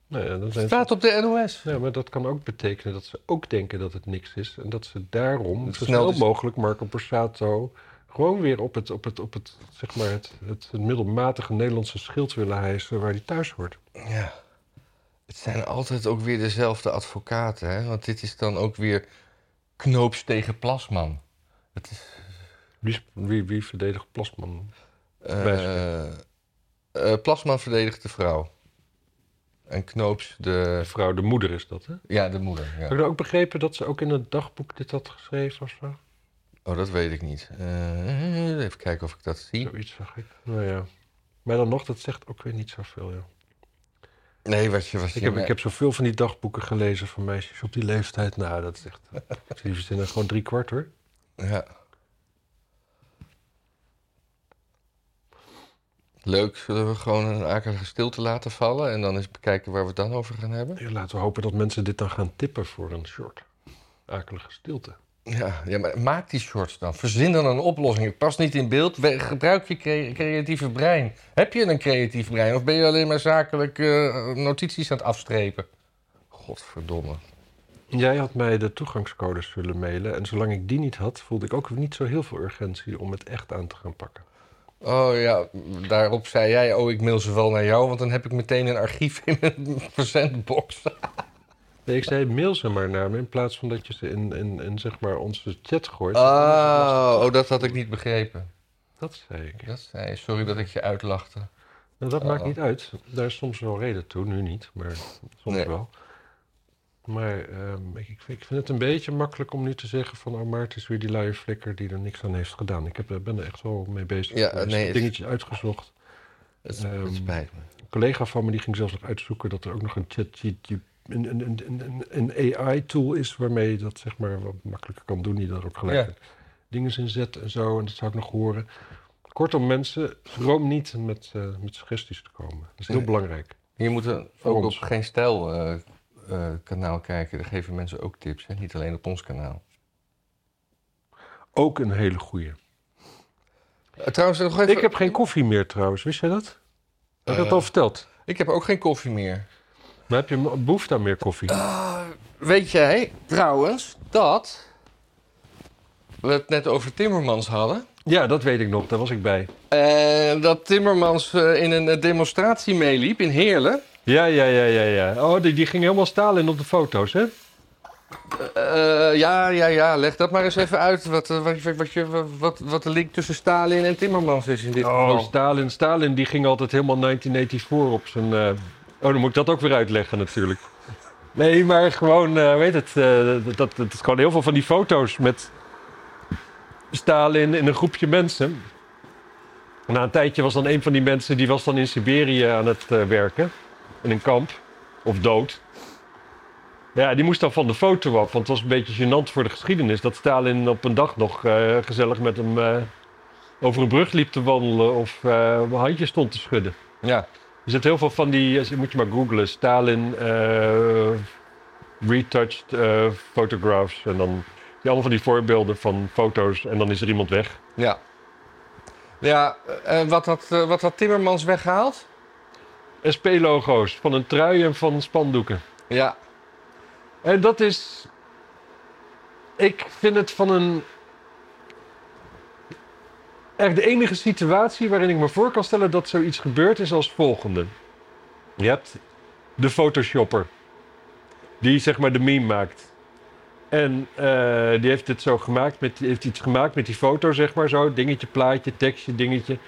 Speaker 1: Nou ja, dan zijn
Speaker 2: Het
Speaker 1: ze-
Speaker 2: staat op de NOS.
Speaker 1: Ja, maar dat kan ook betekenen dat ze ook denken dat het niks is. En dat ze daarom
Speaker 2: Dat
Speaker 1: zo
Speaker 2: snel
Speaker 1: snel
Speaker 2: is-
Speaker 1: mogelijk Marco Borsato gewoon weer op het, op het, op het, zeg maar het, het, het middelmatige Nederlandse schild willen hijsen waar hij thuis hoort.
Speaker 2: Ja. Het zijn altijd ook weer dezelfde advocaten, hè? Want dit is dan ook weer knoops tegen Plasman. Het is...
Speaker 1: Wie, is- wie, wie verdedigt Plasman?
Speaker 2: eh,
Speaker 1: Wijsgeer.
Speaker 2: eh, Plasman verdedigt de vrouw. En knoops de...
Speaker 1: De Eh, vrouw, de moeder is dat, hè?
Speaker 2: Ja, de moeder. Ja.
Speaker 1: Heb ik nou ook begrepen dat ze ook in het dagboek dit had geschreven of zo?
Speaker 2: Oh, dat weet ik niet. Eh, even kijken of ik dat zie.
Speaker 1: Zoiets zag ik. Nou ja. Maar dan nog, dat zegt ook weer niet zoveel, ja.
Speaker 2: Nee, wat je... Wat je
Speaker 1: Ik heb, ik heb zoveel van die dagboeken gelezen van meisjes op die leeftijd. Nou, dat is echt... Ik zie die verzinnen gewoon drie kwart, hoor.
Speaker 2: Ja. Leuk, zullen we gewoon een akelige stilte laten vallen en dan eens bekijken waar we het dan over gaan hebben?
Speaker 1: Ja, laten we hopen dat mensen dit dan gaan tippen voor een short. Akelige stilte.
Speaker 2: Ja, ja maar maak die shorts dan. Verzin dan een oplossing. Het past niet in beeld. We- gebruik je cre- creatieve brein. Heb je een creatief brein of ben je alleen maar zakelijk eh, notities aan het afstrepen? Godverdomme.
Speaker 1: Jij had mij de toegangscodes zullen mailen. En zolang ik die niet had, voelde ik ook niet zo heel veel urgentie om het echt aan te gaan pakken.
Speaker 2: Oh ja, daarop zei jij, oh ik mail ze wel naar jou, want dan heb ik meteen een archief in mijn verzendbox.
Speaker 1: Nee, ik zei mail ze maar naar me in plaats van dat je ze in, in, in zeg maar onze chat gooit.
Speaker 2: Oh, oh, dat had ik niet begrepen.
Speaker 1: Dat zei ik.
Speaker 2: Dat zei, sorry dat ik je uitlachte.
Speaker 1: Nou, dat
Speaker 2: Oh.
Speaker 1: maakt niet uit. Daar is soms wel reden toe, nu niet, maar soms
Speaker 2: Nee.
Speaker 1: wel. Maar ehm, ik, ik vind ik vind het een beetje makkelijk om nu te zeggen van... oh, maar het is weer die luie flikker die er niks aan heeft gedaan. Ik heb, eh, ben er echt wel mee bezig.
Speaker 2: Ja,
Speaker 1: geweest.
Speaker 2: nee, het-
Speaker 1: Dingetjes uitgezocht.
Speaker 2: Het,
Speaker 1: Ehm,
Speaker 2: het spijt me.
Speaker 1: Een collega van me die ging zelfs nog uitzoeken... dat er ook nog een chat, een, een, een, een, een AI-tool is... waarmee je dat zeg maar wat makkelijker kan doen. Die daar ook gelijk
Speaker 2: Ja.
Speaker 1: dingen in zet en zo. En dat zou ik nog horen. Kortom, mensen, schroom niet met, eh, met suggesties te komen. Dat is heel
Speaker 2: Nee.
Speaker 1: belangrijk.
Speaker 2: Je moet er
Speaker 1: Voor
Speaker 2: ook op
Speaker 1: ons.
Speaker 2: geen stijl eh, eh, kanaal kijken. Daar geven mensen ook tips, hè? niet alleen op ons kanaal.
Speaker 1: Ook een hele goeie.
Speaker 2: Eh, trouwens, nog even,
Speaker 1: Ik heb geen koffie meer trouwens, wist jij dat? Heb ik dat
Speaker 2: Eh.
Speaker 1: al verteld?
Speaker 2: ik heb ook geen koffie meer.
Speaker 1: Maar heb je mo- behoefte aan meer koffie?
Speaker 2: Weet jij trouwens dat we het net over Timmermans hadden?
Speaker 1: Ja, dat weet ik nog, daar was ik bij.
Speaker 2: En Eh, dat Timmermans eh, in een eh, demonstratie meeliep in Heerlen.
Speaker 1: Ja, ja, ja, ja, ja. Oh, die, die ging helemaal stalen op de foto's, hè?
Speaker 2: Eh, ja, ja, ja. Leg dat maar eens even uit. Wat, eh, wat, je- wat, je- wat, wat de link tussen Stalin en Timmermans is in dit
Speaker 1: Oh,
Speaker 2: geval.
Speaker 1: Stalin. Stalin die ging altijd helemaal 1984 op zijn... eh, Oh, dan moet ik dat ook weer uitleggen natuurlijk. Nee, maar gewoon, eh, weet het, eh, dat, dat, dat is gewoon heel veel van die foto's met Stalin in een groepje mensen. Na een tijdje was dan een van die mensen, die was dan in Siberië aan het eh, werken. In een kamp. Of dood. Ja, die moest dan van de foto af, want het was een beetje gênant voor de geschiedenis. Dat Stalin op een dag nog eh, gezellig met hem eh, over een brug liep te wandelen of eh een handje stond te schudden.
Speaker 2: Ja.
Speaker 1: Er zit heel veel van die, eh, moet je maar googlen, Stalin eh, retouched eh, photographs. En dan die allemaal van die voorbeelden van foto's en dan is er iemand weg.
Speaker 2: Ja. Ja, eh, wat, had, eh, wat had Timmermans weggehaald?
Speaker 1: SP-logo's van een trui en van spandoeken.
Speaker 2: Ja.
Speaker 1: En dat is. Ik vind het van een. Echt de enige situatie waarin ik me voor kan stellen dat zoiets gebeurt is als volgende. Je hebt de photoshopper. Die zeg maar de meme maakt. En eh, die heeft dit zo gemaakt. Met, die heeft iets gemaakt met die foto zeg maar zo. Dingetje, plaatje, tekstje, dingetje.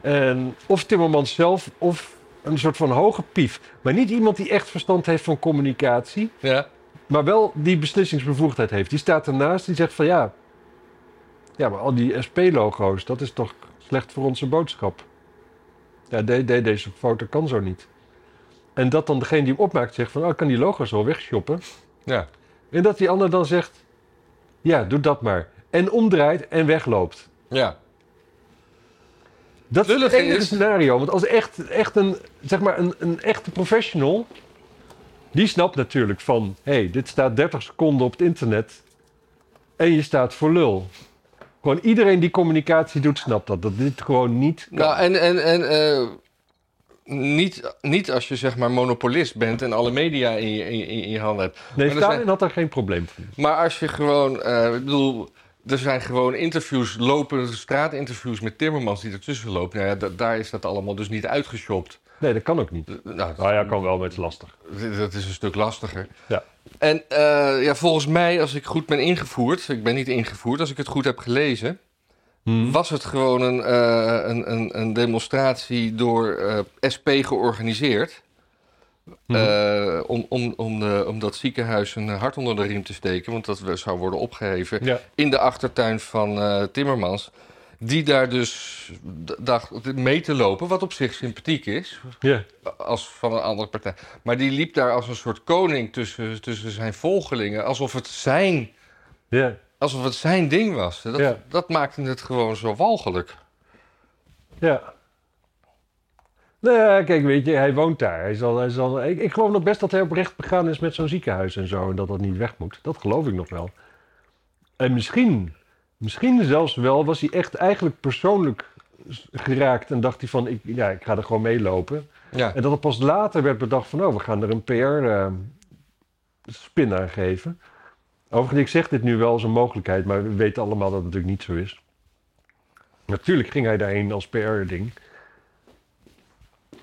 Speaker 1: En of Timmermans zelf of een soort van hoge pief. Maar niet iemand die echt verstand heeft van communicatie
Speaker 2: Ja.
Speaker 1: maar wel die beslissingsbevoegdheid heeft. Die staat ernaast, die zegt van ja, ja maar al die SP-logo's, dat is toch slecht voor onze boodschap. Ja, de, de- deze foto kan zo niet. En dat dan degene die hem opmaakt zegt van, oh, ik kan die logo's wel wegshoppen.
Speaker 2: Ja.
Speaker 1: En dat die ander dan zegt, ja, doe dat maar. En omdraait en wegloopt.
Speaker 2: Ja.
Speaker 1: Dat is het
Speaker 2: Lullig
Speaker 1: enige
Speaker 2: is-
Speaker 1: scenario. Want als echt, echt een, zeg maar een, een echte professional. die snapt natuurlijk van. hé, hey, dit staat 30 seconden op het internet. en je staat voor lul. Gewoon iedereen die communicatie doet, snapt dat. Dat dit gewoon niet. kan.
Speaker 2: Nou, en, en, en eh, niet, niet als je zeg maar monopolist bent en alle media in je, in, in je handen hebt.
Speaker 1: nee,
Speaker 2: maar er
Speaker 1: Stalin
Speaker 2: zijn-
Speaker 1: had daar geen probleem van.
Speaker 2: Maar als je gewoon, eh, ik bedoel, er zijn gewoon interviews, lopende straatinterviews met Timmermans die ertussen lopen. Nou ja, da- daar is dat allemaal dus niet uitgeshopt.
Speaker 1: Nee, dat kan ook niet.
Speaker 2: D- Nou,
Speaker 1: Nou ja, kan wel, maar het is lastig.
Speaker 2: d- dat is een stuk lastiger.
Speaker 1: Ja.
Speaker 2: En eh, ja, volgens mij, als ik goed ben ingevoerd, ik ben niet ingevoerd, als ik het goed heb gelezen,
Speaker 1: Mhm. Hmm.
Speaker 2: was het gewoon een, eh, een, een, een demonstratie door eh, SP georganiseerd.
Speaker 1: Mhm.
Speaker 2: eh, om, om, om, de, om dat ziekenhuis een hart onder de riem te steken, want dat we- zou worden opgeheven
Speaker 1: Ja.
Speaker 2: in de achtertuin van eh, Timmermans. Die daar dus d- dacht mee te lopen, wat op zich sympathiek is
Speaker 1: Ja.
Speaker 2: als van een andere partij. Maar die liep daar als een soort koning tussen, tussen zijn volgelingen. Alsof het zijn,
Speaker 1: ja.
Speaker 2: alsof het zijn ding was. Dat,
Speaker 1: Ja.
Speaker 2: dat maakte het gewoon zo walgelijk.
Speaker 1: Ja. Nou ja, kijk, weet je, hij woont daar. Hij zal, hij zal, ik, ik geloof nog best dat hij oprecht begaan is met zo'n ziekenhuis en zo. En dat dat niet weg moet. Dat geloof ik nog wel. En misschien, misschien zelfs wel, was hij echt eigenlijk persoonlijk s- geraakt. En dacht hij van, ik, ja, ik ga er gewoon meelopen.
Speaker 2: Ja,
Speaker 1: En dat het pas later werd bedacht van, oh, we gaan er een PR-spin aan geven. Overigens, ik zeg dit nu wel als een mogelijkheid, maar we weten allemaal dat het natuurlijk niet zo is. Natuurlijk ging hij daarheen als PR-ding.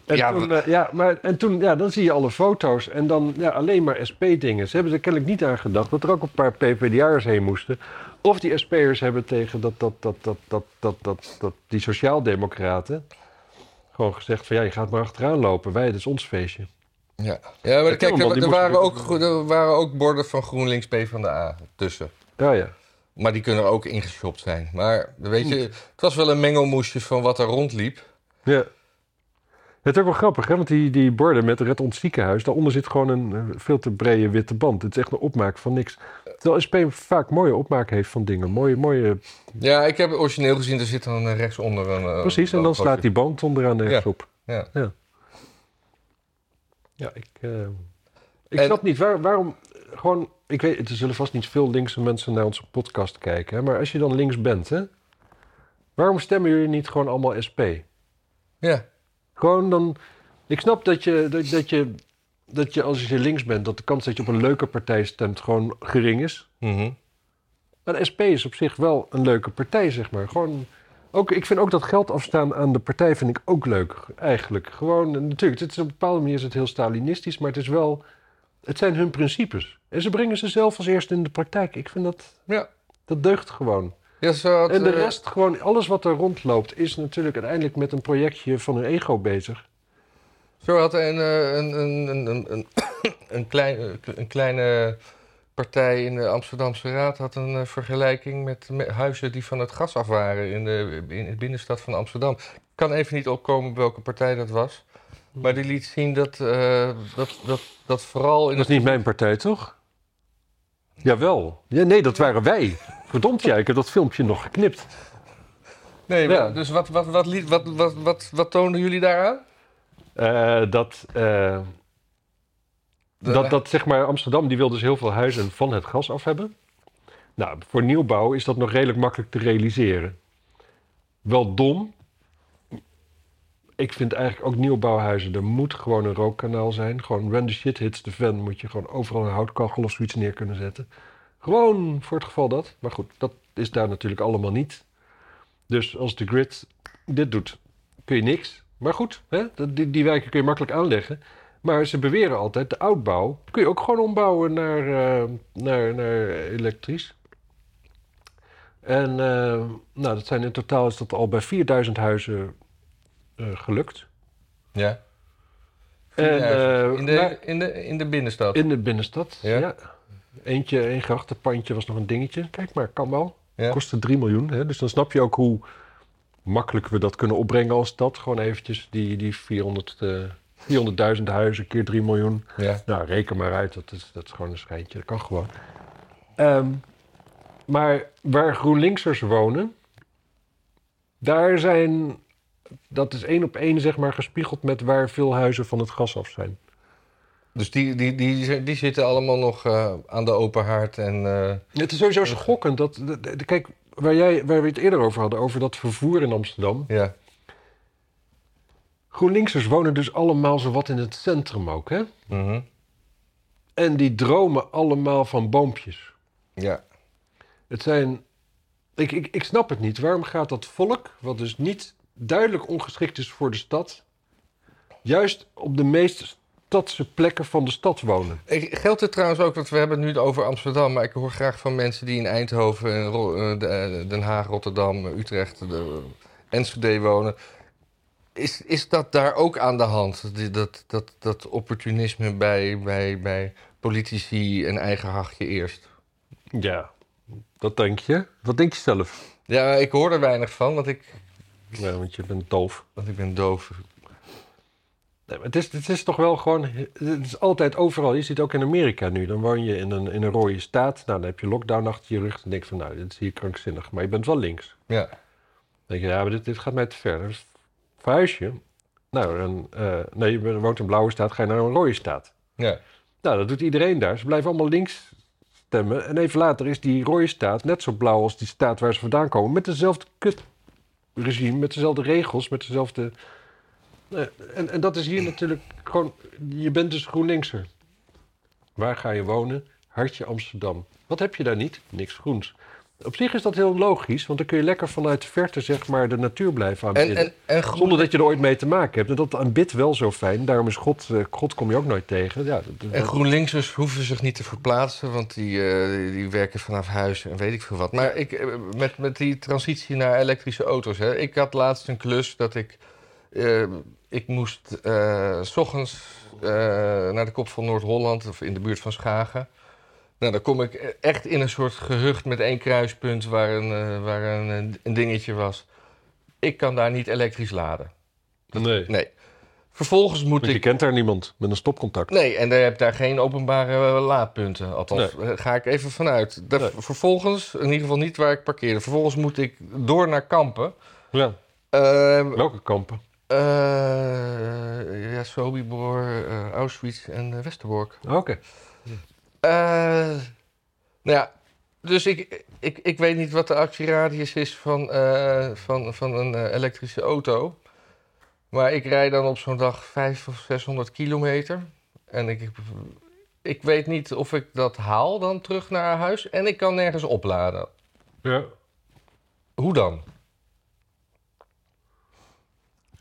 Speaker 1: En,
Speaker 2: Ja,
Speaker 1: toen,
Speaker 2: we-
Speaker 1: eh, ja, maar, en toen, ja, dan zie je alle foto's en dan ja, alleen maar SP-dingen. Ze hebben er kennelijk niet aan gedacht dat er ook een paar PPDA'ers heen moesten. Of die SP'ers hebben tegen dat, dat, dat, dat, dat, dat, dat, dat, die sociaaldemocraten gewoon gezegd van ja, je gaat maar achteraan lopen. Wij, dat is ons feestje.
Speaker 2: ja. ja maar kijk,
Speaker 1: Timmermans,
Speaker 2: er,
Speaker 1: die
Speaker 2: er
Speaker 1: moest
Speaker 2: waren ook,
Speaker 1: natuurlijk-
Speaker 2: gro- er waren ook borden van GroenLinks PvdA tussen.
Speaker 1: Ja, ja.
Speaker 2: Maar die kunnen er ook ingeshopt zijn. Maar weet je, het was wel een mengelmoesje van wat er rondliep.
Speaker 1: ja. Het is ook wel grappig, hè? want die, die borden met Red Ons Ziekenhuis, daaronder zit gewoon een eh, veel te brede witte band. Het is echt een opmaak van niks. Terwijl SP vaak mooie opmaak heeft van dingen. Mooie, mooie...
Speaker 2: Ja, ik heb het origineel gezien, er zit dan eh, rechtsonder een... eh,
Speaker 1: Precies, en dan
Speaker 2: logootje.
Speaker 1: slaat die band onderaan ergens
Speaker 2: Ja.
Speaker 1: op.
Speaker 2: Ja.
Speaker 1: Ja, ik, eh, ik
Speaker 2: En-
Speaker 1: snap niet waar- waarom. Gewoon, ik weet, er zullen vast niet veel linkse mensen naar onze podcast kijken. Hè, maar als je dan links bent, hè, waarom stemmen jullie niet gewoon allemaal SP?
Speaker 2: ja.
Speaker 1: Gewoon dan. Ik snap dat je, dat, dat je, dat je als je links bent, dat de kans dat je op een leuke partij stemt gewoon gering is.
Speaker 2: Mhm.
Speaker 1: Maar de SP is op zich wel een leuke partij, zeg maar. Gewoon, ook, ik vind ook dat geld afstaan aan de partij vind ik ook leuk, eigenlijk. Gewoon, natuurlijk, het is op een bepaalde manier is het heel Stalinistisch, maar het is wel... Het zijn hun principes. En ze brengen ze zelf als eerste in de praktijk. Ik vind dat...
Speaker 2: Ja.
Speaker 1: Dat deugt gewoon.
Speaker 2: Ja, ze had,
Speaker 1: en de
Speaker 2: eh,
Speaker 1: rest, gewoon alles wat er rondloopt, is natuurlijk uiteindelijk met een projectje van hun ego bezig.
Speaker 2: Zo had een, eh, een, een, een, een, een, een klein, een kleine partij in de Amsterdamse Raad had een eh, vergelijking met, met huizen die van het gas af waren in de in de binnenstad van Amsterdam. Ik kan even niet opkomen welke partij dat was. Maar die liet zien dat, eh, dat, dat, dat vooral in
Speaker 1: Dat is
Speaker 2: het...
Speaker 1: niet mijn partij, toch? Jawel. Ja, nee, dat waren wij. Verdomd, jij, ik heb dat filmpje nog geknipt.
Speaker 2: Nee, maar-
Speaker 1: Ja.
Speaker 2: dus wat, wat, wat, liet- wat, wat, wat, wat toonden jullie daaraan?
Speaker 1: Eh, dat, eh, dat, dat, zeg maar, Amsterdam die wil dus heel veel huizen van het gas af hebben. Nou, voor nieuwbouw is dat nog redelijk makkelijk te realiseren. Wel dom. Ik vind eigenlijk ook nieuwbouwhuizen, er moet gewoon een rookkanaal zijn. Gewoon when the shit hits the fan moet je gewoon overal een houtkachel of zoiets neer kunnen zetten. Gewoon voor het geval dat. Maar goed, dat is daar natuurlijk allemaal niet. Dus als de grid dit doet, kun je niks. Maar goed, hè? dat- Die, die wijken kun je makkelijk aanleggen. Maar ze beweren altijd, de oudbouw kun je ook gewoon ombouwen naar, eh, naar, naar elektrisch. En eh, nou, dat zijn in totaal is dat al bij 4000 huizen eh, gelukt.
Speaker 2: Ja.
Speaker 1: En,
Speaker 2: Ja,
Speaker 1: eh,
Speaker 2: in, de,
Speaker 1: maar-
Speaker 2: in, de, in de binnenstad.
Speaker 1: in de binnenstad,
Speaker 2: Ja.
Speaker 1: ja. Eentje, een grachtenpandje was nog een dingetje. Kijk maar, kan wel.
Speaker 2: Ja.
Speaker 1: Kostte 3 miljoen. Hè? Dus dan snap je ook hoe makkelijk we dat kunnen opbrengen als stad. Gewoon eventjes die, die 400, eh, 400.000 huizen keer 3 miljoen.
Speaker 2: Ja.
Speaker 1: Nou, reken maar uit. Dat is, dat is gewoon een schijntje. Dat kan gewoon. Ehm, maar waar GroenLinksers wonen, daar zijn... Dat is één op één, zeg maar, gespiegeld met waar veel huizen van het gas af zijn.
Speaker 2: Dus die, die, die, die, zitten allemaal nog eh, aan de open haard en... eh,
Speaker 1: Het is sowieso schokkend dat. de- de- de- Kijk, waar, jij, waar we het eerder over hadden, over dat vervoer in Amsterdam.
Speaker 2: Ja,
Speaker 1: GroenLinksers wonen dus allemaal zowat in het centrum ook, hè?
Speaker 2: mhm.
Speaker 1: En die dromen allemaal van boompjes.
Speaker 2: ja.
Speaker 1: Het zijn. Ik, ik, ik snap het niet. Waarom gaat dat volk, wat dus niet duidelijk ongeschikt is voor de stad, juist op de meest stadse plekken van de stad wonen?
Speaker 2: Ik, geldt het trouwens ook, want we hebben het nu over Amsterdam... maar ik hoor graag van mensen die in Eindhoven, en Ro- eh, de- eh, Den Haag, Rotterdam, eh, Utrecht, de, Enschede wonen. Is, is dat daar ook aan de hand, die- dat, dat, dat opportunisme bij, bij, bij politici en eigen hachje eerst?
Speaker 1: Ja, dat denk je. Wat denk je zelf?
Speaker 2: Ja, ik hoor er weinig van, want ik,
Speaker 1: Ja, want je bent doof.
Speaker 2: want ik ben doof.
Speaker 1: Nee, maar het, is, het is toch wel gewoon. Het is altijd overal. Je ziet het ook in Amerika nu. Dan woon je in een, in een rode staat. Nou, dan heb je lockdown achter je rug. Dan denk je van, nou, dit is hier krankzinnig. Maar je bent wel links.
Speaker 2: Ja,
Speaker 1: Dan denk je, ja, maar dit, dit gaat mij te ver. Dus verhuis je. Nou, en, eh, nee, je woont in een blauwe staat. Ga je naar een rode staat.
Speaker 2: ja.
Speaker 1: Nou, dat doet iedereen daar. Ze blijven allemaal links stemmen. En even later is die rode staat net zo blauw als die staat waar ze vandaan komen. Met dezelfde kutregime, met dezelfde regels, met dezelfde... Eh, En, en dat is hier natuurlijk gewoon... Je bent dus GroenLinkser. Waar ga je wonen? Hartje Amsterdam. Wat heb je daar niet? Niks groens. Op zich is dat heel logisch, want dan kun je lekker vanuit de verte zeg maar, de natuur blijven
Speaker 2: En,
Speaker 1: aanbidden.
Speaker 2: en, en groen-
Speaker 1: Zonder dat je er ooit mee te maken hebt. En dat aanbidt wel zo fijn. Daarom is God, eh, God kom je ook nooit tegen. Ja, dat-
Speaker 2: En GroenLinksers hoeven zich niet te verplaatsen, want die, eh, die werken vanaf huis en weet ik veel wat. Maar ik, eh, met, met die transitie naar elektrische auto's. Hè, ik had laatst een klus dat ik. eh, ik moest eh, s ochtends eh, naar de kop van Noord-Holland of in de buurt van Schagen. Nou, dan kom ik echt in een soort gehucht met één kruispunt waar een, eh, waar een, een dingetje was. Ik kan daar niet elektrisch laden.
Speaker 1: Nee.
Speaker 2: Nee. Vervolgens moet
Speaker 1: Want
Speaker 2: ik
Speaker 1: je kent daar niemand met een stopcontact.
Speaker 2: Nee, en daar heb daar geen openbare eh, laadpunten. Althans, eh, ga ik even vanuit. Daar-
Speaker 1: Nee.
Speaker 2: Vervolgens, in ieder geval niet waar ik parkeerde. Vervolgens moet ik door naar Kampen.
Speaker 1: Ja.
Speaker 2: Ehm,
Speaker 1: Welke kampen?
Speaker 2: eh, ja, Sobibor, eh, Auschwitz en eh, Westerbork.
Speaker 1: Oké.
Speaker 2: Eh, nou ja, dus ik, ik, ik weet niet wat de actieradius is van, eh, van, van een eh, elektrische auto. Maar ik rijd dan op zo'n dag 500 of 600 kilometer. En ik, ik weet niet of ik dat haal dan terug naar huis. En ik kan nergens opladen.
Speaker 1: Ja.
Speaker 2: Hoe dan?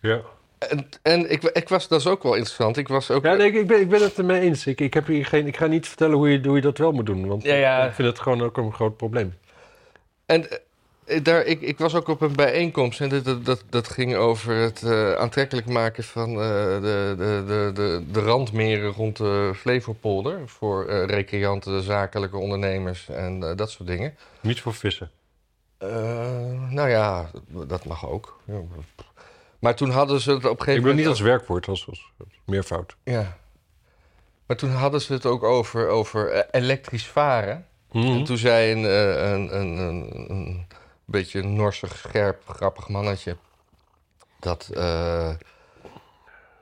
Speaker 1: Ja.
Speaker 2: En, en ik, ik was, dat is ook wel interessant. Ik was ook.
Speaker 1: Ja, nee, ik- ik ben, ik ben het ermee eens. Ik, ik, heb hier geen, ik ga niet vertellen hoe je, hoe je dat wel moet doen. Want
Speaker 2: Ja, ja.
Speaker 1: ik vind het gewoon ook een groot probleem.
Speaker 2: En eh, daar, ik, ik was ook op een bijeenkomst en dat- dat, dat, dat ging over het eh, aantrekkelijk maken van eh, de, de, de, de, de randmeren rond de Flevopolder. Voor eh, recreanten, zakelijke ondernemers en eh, dat soort dingen.
Speaker 1: Niet voor vissen.
Speaker 2: Eh, nou ja, dat mag ook. Ja. Maar toen hadden ze het op een gegeven
Speaker 1: Ik bedoel
Speaker 2: moment.
Speaker 1: niet als werkwoord, als, als, als meervoud.
Speaker 2: Ja. Maar toen hadden ze het ook over, over eh, elektrisch varen.
Speaker 1: Mhm. Mm-hmm.
Speaker 2: En toen zei een, eh, een, een, een, een beetje norsig, scherp, grappig mannetje... dat, eh,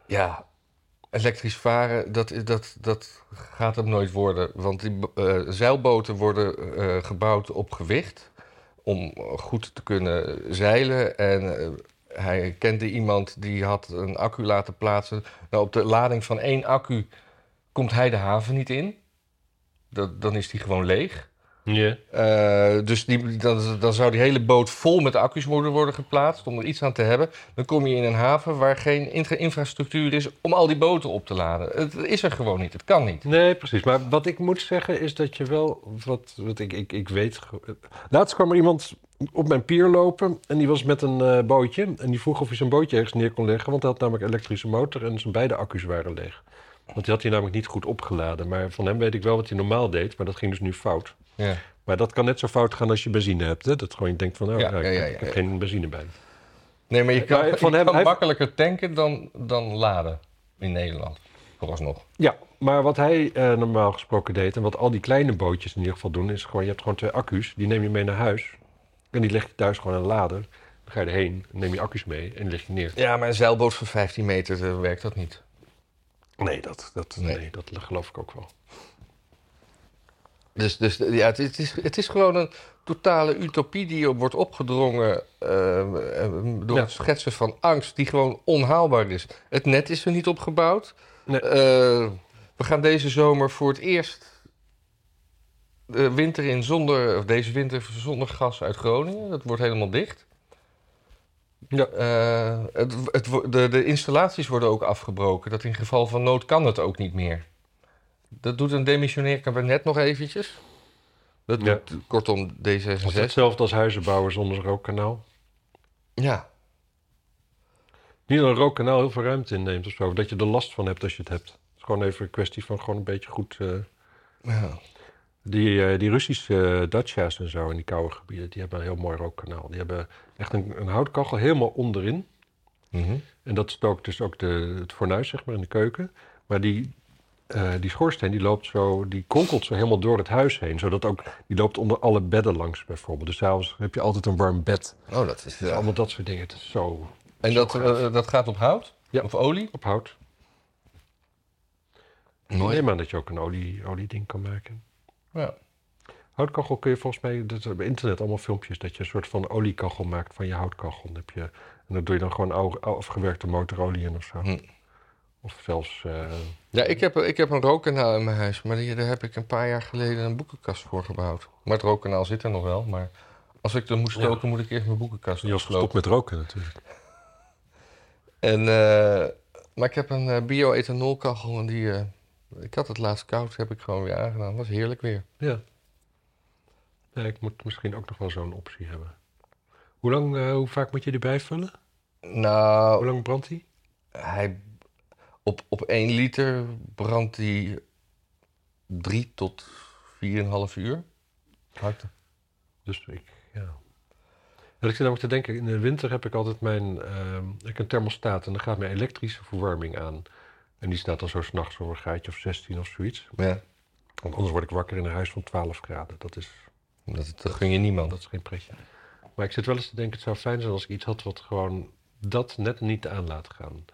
Speaker 2: ja, elektrisch varen, dat, i- dat, dat gaat hem nooit worden. Want die b- eh, zeilboten worden eh, gebouwd op gewicht... om goed te kunnen zeilen. En eh, hij kende iemand die had een accu laten plaatsen. Nou, op de lading van één accu komt hij de haven niet in. Dat, dan is die gewoon leeg.
Speaker 1: Ja.
Speaker 2: Eh, dus die, dan, dan zou die hele boot vol met accu's moeten worden geplaatst om er iets aan te hebben. Dan kom je in een haven waar geen intra- infrastructuur is om al die boten op te laden. Het is er gewoon niet, het kan niet.
Speaker 1: Nee, precies. Maar wat ik moet zeggen is dat je wel. Wat, wat ik, ik, ik weet. ge- Laatst kwam er iemand op mijn pier lopen. En die was met een eh, bootje. En die vroeg of hij zijn bootje ergens neer kon leggen. Want hij had namelijk een elektrische motor. En zijn beide accu's waren leeg. Want die had hij namelijk niet goed opgeladen. Maar van hem weet ik wel wat hij normaal deed. Maar dat ging dus nu fout.
Speaker 2: Ja.
Speaker 1: Maar dat kan net zo fout gaan als je benzine hebt. Hè? Dat gewoon je denkt van. Oh,
Speaker 2: Ja,
Speaker 1: ja, ik,
Speaker 2: ja, ja,
Speaker 1: heb- ik heb
Speaker 2: ja.
Speaker 1: geen benzine bij.
Speaker 2: Nee, maar je kan,
Speaker 1: Eh, Maar van
Speaker 2: je
Speaker 1: hem-
Speaker 2: kan
Speaker 1: hij-
Speaker 2: makkelijker tanken dan, dan laden in Nederland, vooralsnog.
Speaker 1: Ja, maar wat hij eh, normaal gesproken deed en wat al die kleine bootjes in ieder geval doen, is gewoon: je hebt gewoon twee accu's, die neem je mee naar huis. En die leg je thuis gewoon aan de lader. Dan ga je erheen, neem je accu's mee en die leg je neer.
Speaker 2: Ja, maar een zeilboot van 15 meter eh, werkt dat niet.
Speaker 1: Nee, dat, dat, nee.
Speaker 2: Nee.
Speaker 1: dat geloof ik ook wel.
Speaker 2: Dus, dus ja, het, is- het is, het is gewoon een totale utopie die wordt opgedrongen eh, eh, door
Speaker 1: Ja.
Speaker 2: het schetsen van angst, die gewoon onhaalbaar is. Het net is er niet opgebouwd.
Speaker 1: Nee.
Speaker 2: Eh, we gaan deze zomer voor het eerst de winter in zonder, of deze winter zonder gas uit Groningen. Dat wordt helemaal dicht.
Speaker 1: Ja.
Speaker 2: Eh, het, het, wo- de, de installaties worden ook afgebroken. Dat in geval van nood kan het ook niet meer. Dat doet een demissionair kabinet nog eventjes. Dat
Speaker 1: Ja.
Speaker 2: doet kortom
Speaker 1: Het is
Speaker 2: D66.
Speaker 1: hetzelfde als huizen bouwen zonder rookkanaal.
Speaker 2: Ja,
Speaker 1: Niet dat een rookkanaal heel veel ruimte inneemt of zo, dat je er last van hebt als je het hebt. Het is gewoon even een kwestie van gewoon een beetje goed. eh,
Speaker 2: ja.
Speaker 1: Die, eh, die Russische eh Dacia's en zo in die koude gebieden, die hebben een heel mooi rookkanaal. Die hebben echt een, een houtkachel helemaal onderin.
Speaker 2: Mhm.
Speaker 1: En dat stookt dus ook de, het fornuis, zeg maar, in de keuken. Maar die, eh, die schoorsteen, die loopt zo, die kronkelt zo helemaal door het huis heen. Zodat ook, die loopt onder alle bedden langs bijvoorbeeld. Dus s'avonds heb je altijd een warm bed.
Speaker 2: Oh, dat is.
Speaker 1: Dus
Speaker 2: ja.
Speaker 1: allemaal dat soort dingen. Het is zo
Speaker 2: En dat, eh, dat gaat op hout?
Speaker 1: Ja.
Speaker 2: Of olie?
Speaker 1: op hout.
Speaker 2: Mooi.
Speaker 1: Neem aan dat je ook een olie, olieding kan maken.
Speaker 2: Ja.
Speaker 1: Houtkachel kun je volgens mij, dat is op internet allemaal filmpjes, dat je een soort van oliekachel maakt van je houtkachel. Dan heb je, en dan doe je dan gewoon oude, oude afgewerkte motorolie in of zo.
Speaker 2: Hm.
Speaker 1: Of zelfs, eh,
Speaker 2: Ja, ik heb, ik heb een rookkanaal in mijn huis, maar die, daar heb ik een paar jaar geleden een boekenkast voor gebouwd. Maar het rookkanaal zit er nog wel, maar als ik er moet stoken, moet ik eerst mijn boekenkast
Speaker 1: Jos
Speaker 2: opslopen.
Speaker 1: gestopt met roken natuurlijk.
Speaker 2: En, eh, maar ik heb een eh, bio-ethanolkachel en die, eh, ik had het laatst koud, heb ik gewoon weer aangedaan. Was heerlijk weer.
Speaker 1: Ja. ja. Ik moet misschien ook nog wel zo'n optie hebben. Hoe, lang, eh, hoe vaak moet je die bijvullen?
Speaker 2: Nou,
Speaker 1: Hoe lang brandt die?
Speaker 2: hij, op, op 1 liter brandt hij 3 tot 4,5 uur. Hard.
Speaker 1: Dus ik, ja. En ik zit namelijk te denken, in de winter heb ik altijd mijn, ehm, ik heb een thermostaat en dan gaat mijn elektrische verwarming aan. En die staat dan zo s'nachts om een graadje of 16 of zoiets.
Speaker 2: Ja,
Speaker 1: Want anders word ik wakker in een huis van 12 graden. Dat is,
Speaker 2: dat, dat gun je niemand.
Speaker 1: dat is geen pretje. Maar ik zit wel eens te denken, het zou fijn zijn als ik iets had wat gewoon dat net niet aan laat gaan.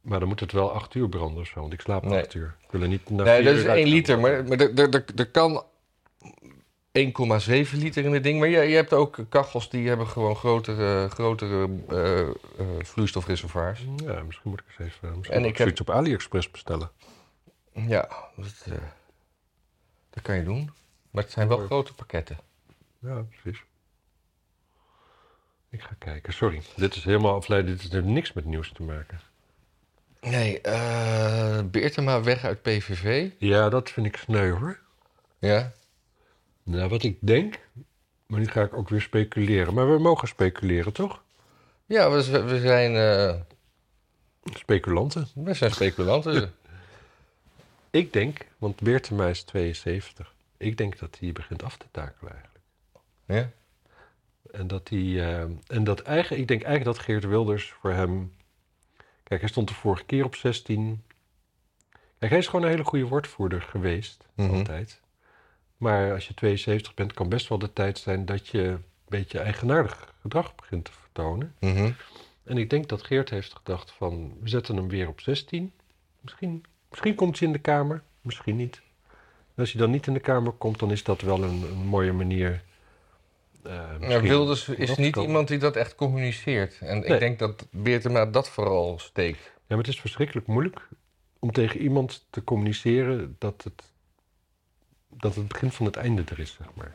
Speaker 1: Maar dan moet het wel acht uur branden of zo, want ik slaap
Speaker 2: Nee.
Speaker 1: acht uur. Ik wil er niet naar
Speaker 2: Nee,
Speaker 1: vier
Speaker 2: dat
Speaker 1: uur
Speaker 2: is
Speaker 1: uit
Speaker 2: 1
Speaker 1: gaan.
Speaker 2: liter, maar, maar er, er, er, er kan 1,7 liter in het ding. Maar je, je hebt ook kachels die hebben gewoon grotere, grotere eh, eh, vloeistofreservoirs.
Speaker 1: Ja, misschien moet ik eens even misschien
Speaker 2: En
Speaker 1: moet
Speaker 2: ik
Speaker 1: ik
Speaker 2: heb-
Speaker 1: zoiets op AliExpress bestellen.
Speaker 2: Ja, dat, eh, dat kan je doen. Maar het zijn wel
Speaker 1: Mooi.
Speaker 2: grote pakketten.
Speaker 1: Ja, precies. Ik ga kijken, sorry. Dit is helemaal afleidend. Dit heeft niks met nieuws te maken.
Speaker 2: Nee, eh Beertema weg uit PVV.
Speaker 1: Ja, dat vind ik sneu hoor.
Speaker 2: Ja.
Speaker 1: Nou, wat ik denk. Maar nu ga ik ook weer speculeren. Maar we mogen speculeren, toch?
Speaker 2: Ja, we, z- we zijn, eh,
Speaker 1: Speculanten.
Speaker 2: we zijn speculanten.
Speaker 1: Ik denk, want Beertema is 72. Ik denk dat hij begint af te takelen eigenlijk.
Speaker 2: ja.
Speaker 1: En dat hij. eh, en dat eigen, ik denk eigenlijk dat Geert Wilders voor hem. Kijk, hij stond de vorige keer op 16. Kijk, hij is gewoon een hele goede woordvoerder geweest,
Speaker 2: Mhm.
Speaker 1: altijd. Maar als je 72 bent, kan best wel de tijd zijn dat je een beetje eigenaardig gedrag begint te vertonen.
Speaker 2: Mhm.
Speaker 1: En ik denk dat Geert heeft gedacht van, we zetten hem weer op 16. Misschien, misschien komt hij in de Kamer, misschien niet. En als hij dan niet in de Kamer komt, dan is dat wel een, een mooie manier. eh,
Speaker 2: Maar
Speaker 1: misschien-
Speaker 2: Wilders is
Speaker 1: dat
Speaker 2: niet
Speaker 1: kan.
Speaker 2: iemand die dat echt communiceert. En
Speaker 1: Nee.
Speaker 2: ik denk dat Beertema dat vooral steekt.
Speaker 1: Ja, maar het is verschrikkelijk moeilijk om tegen iemand te communiceren dat het, dat het begin van het einde er is, zeg maar.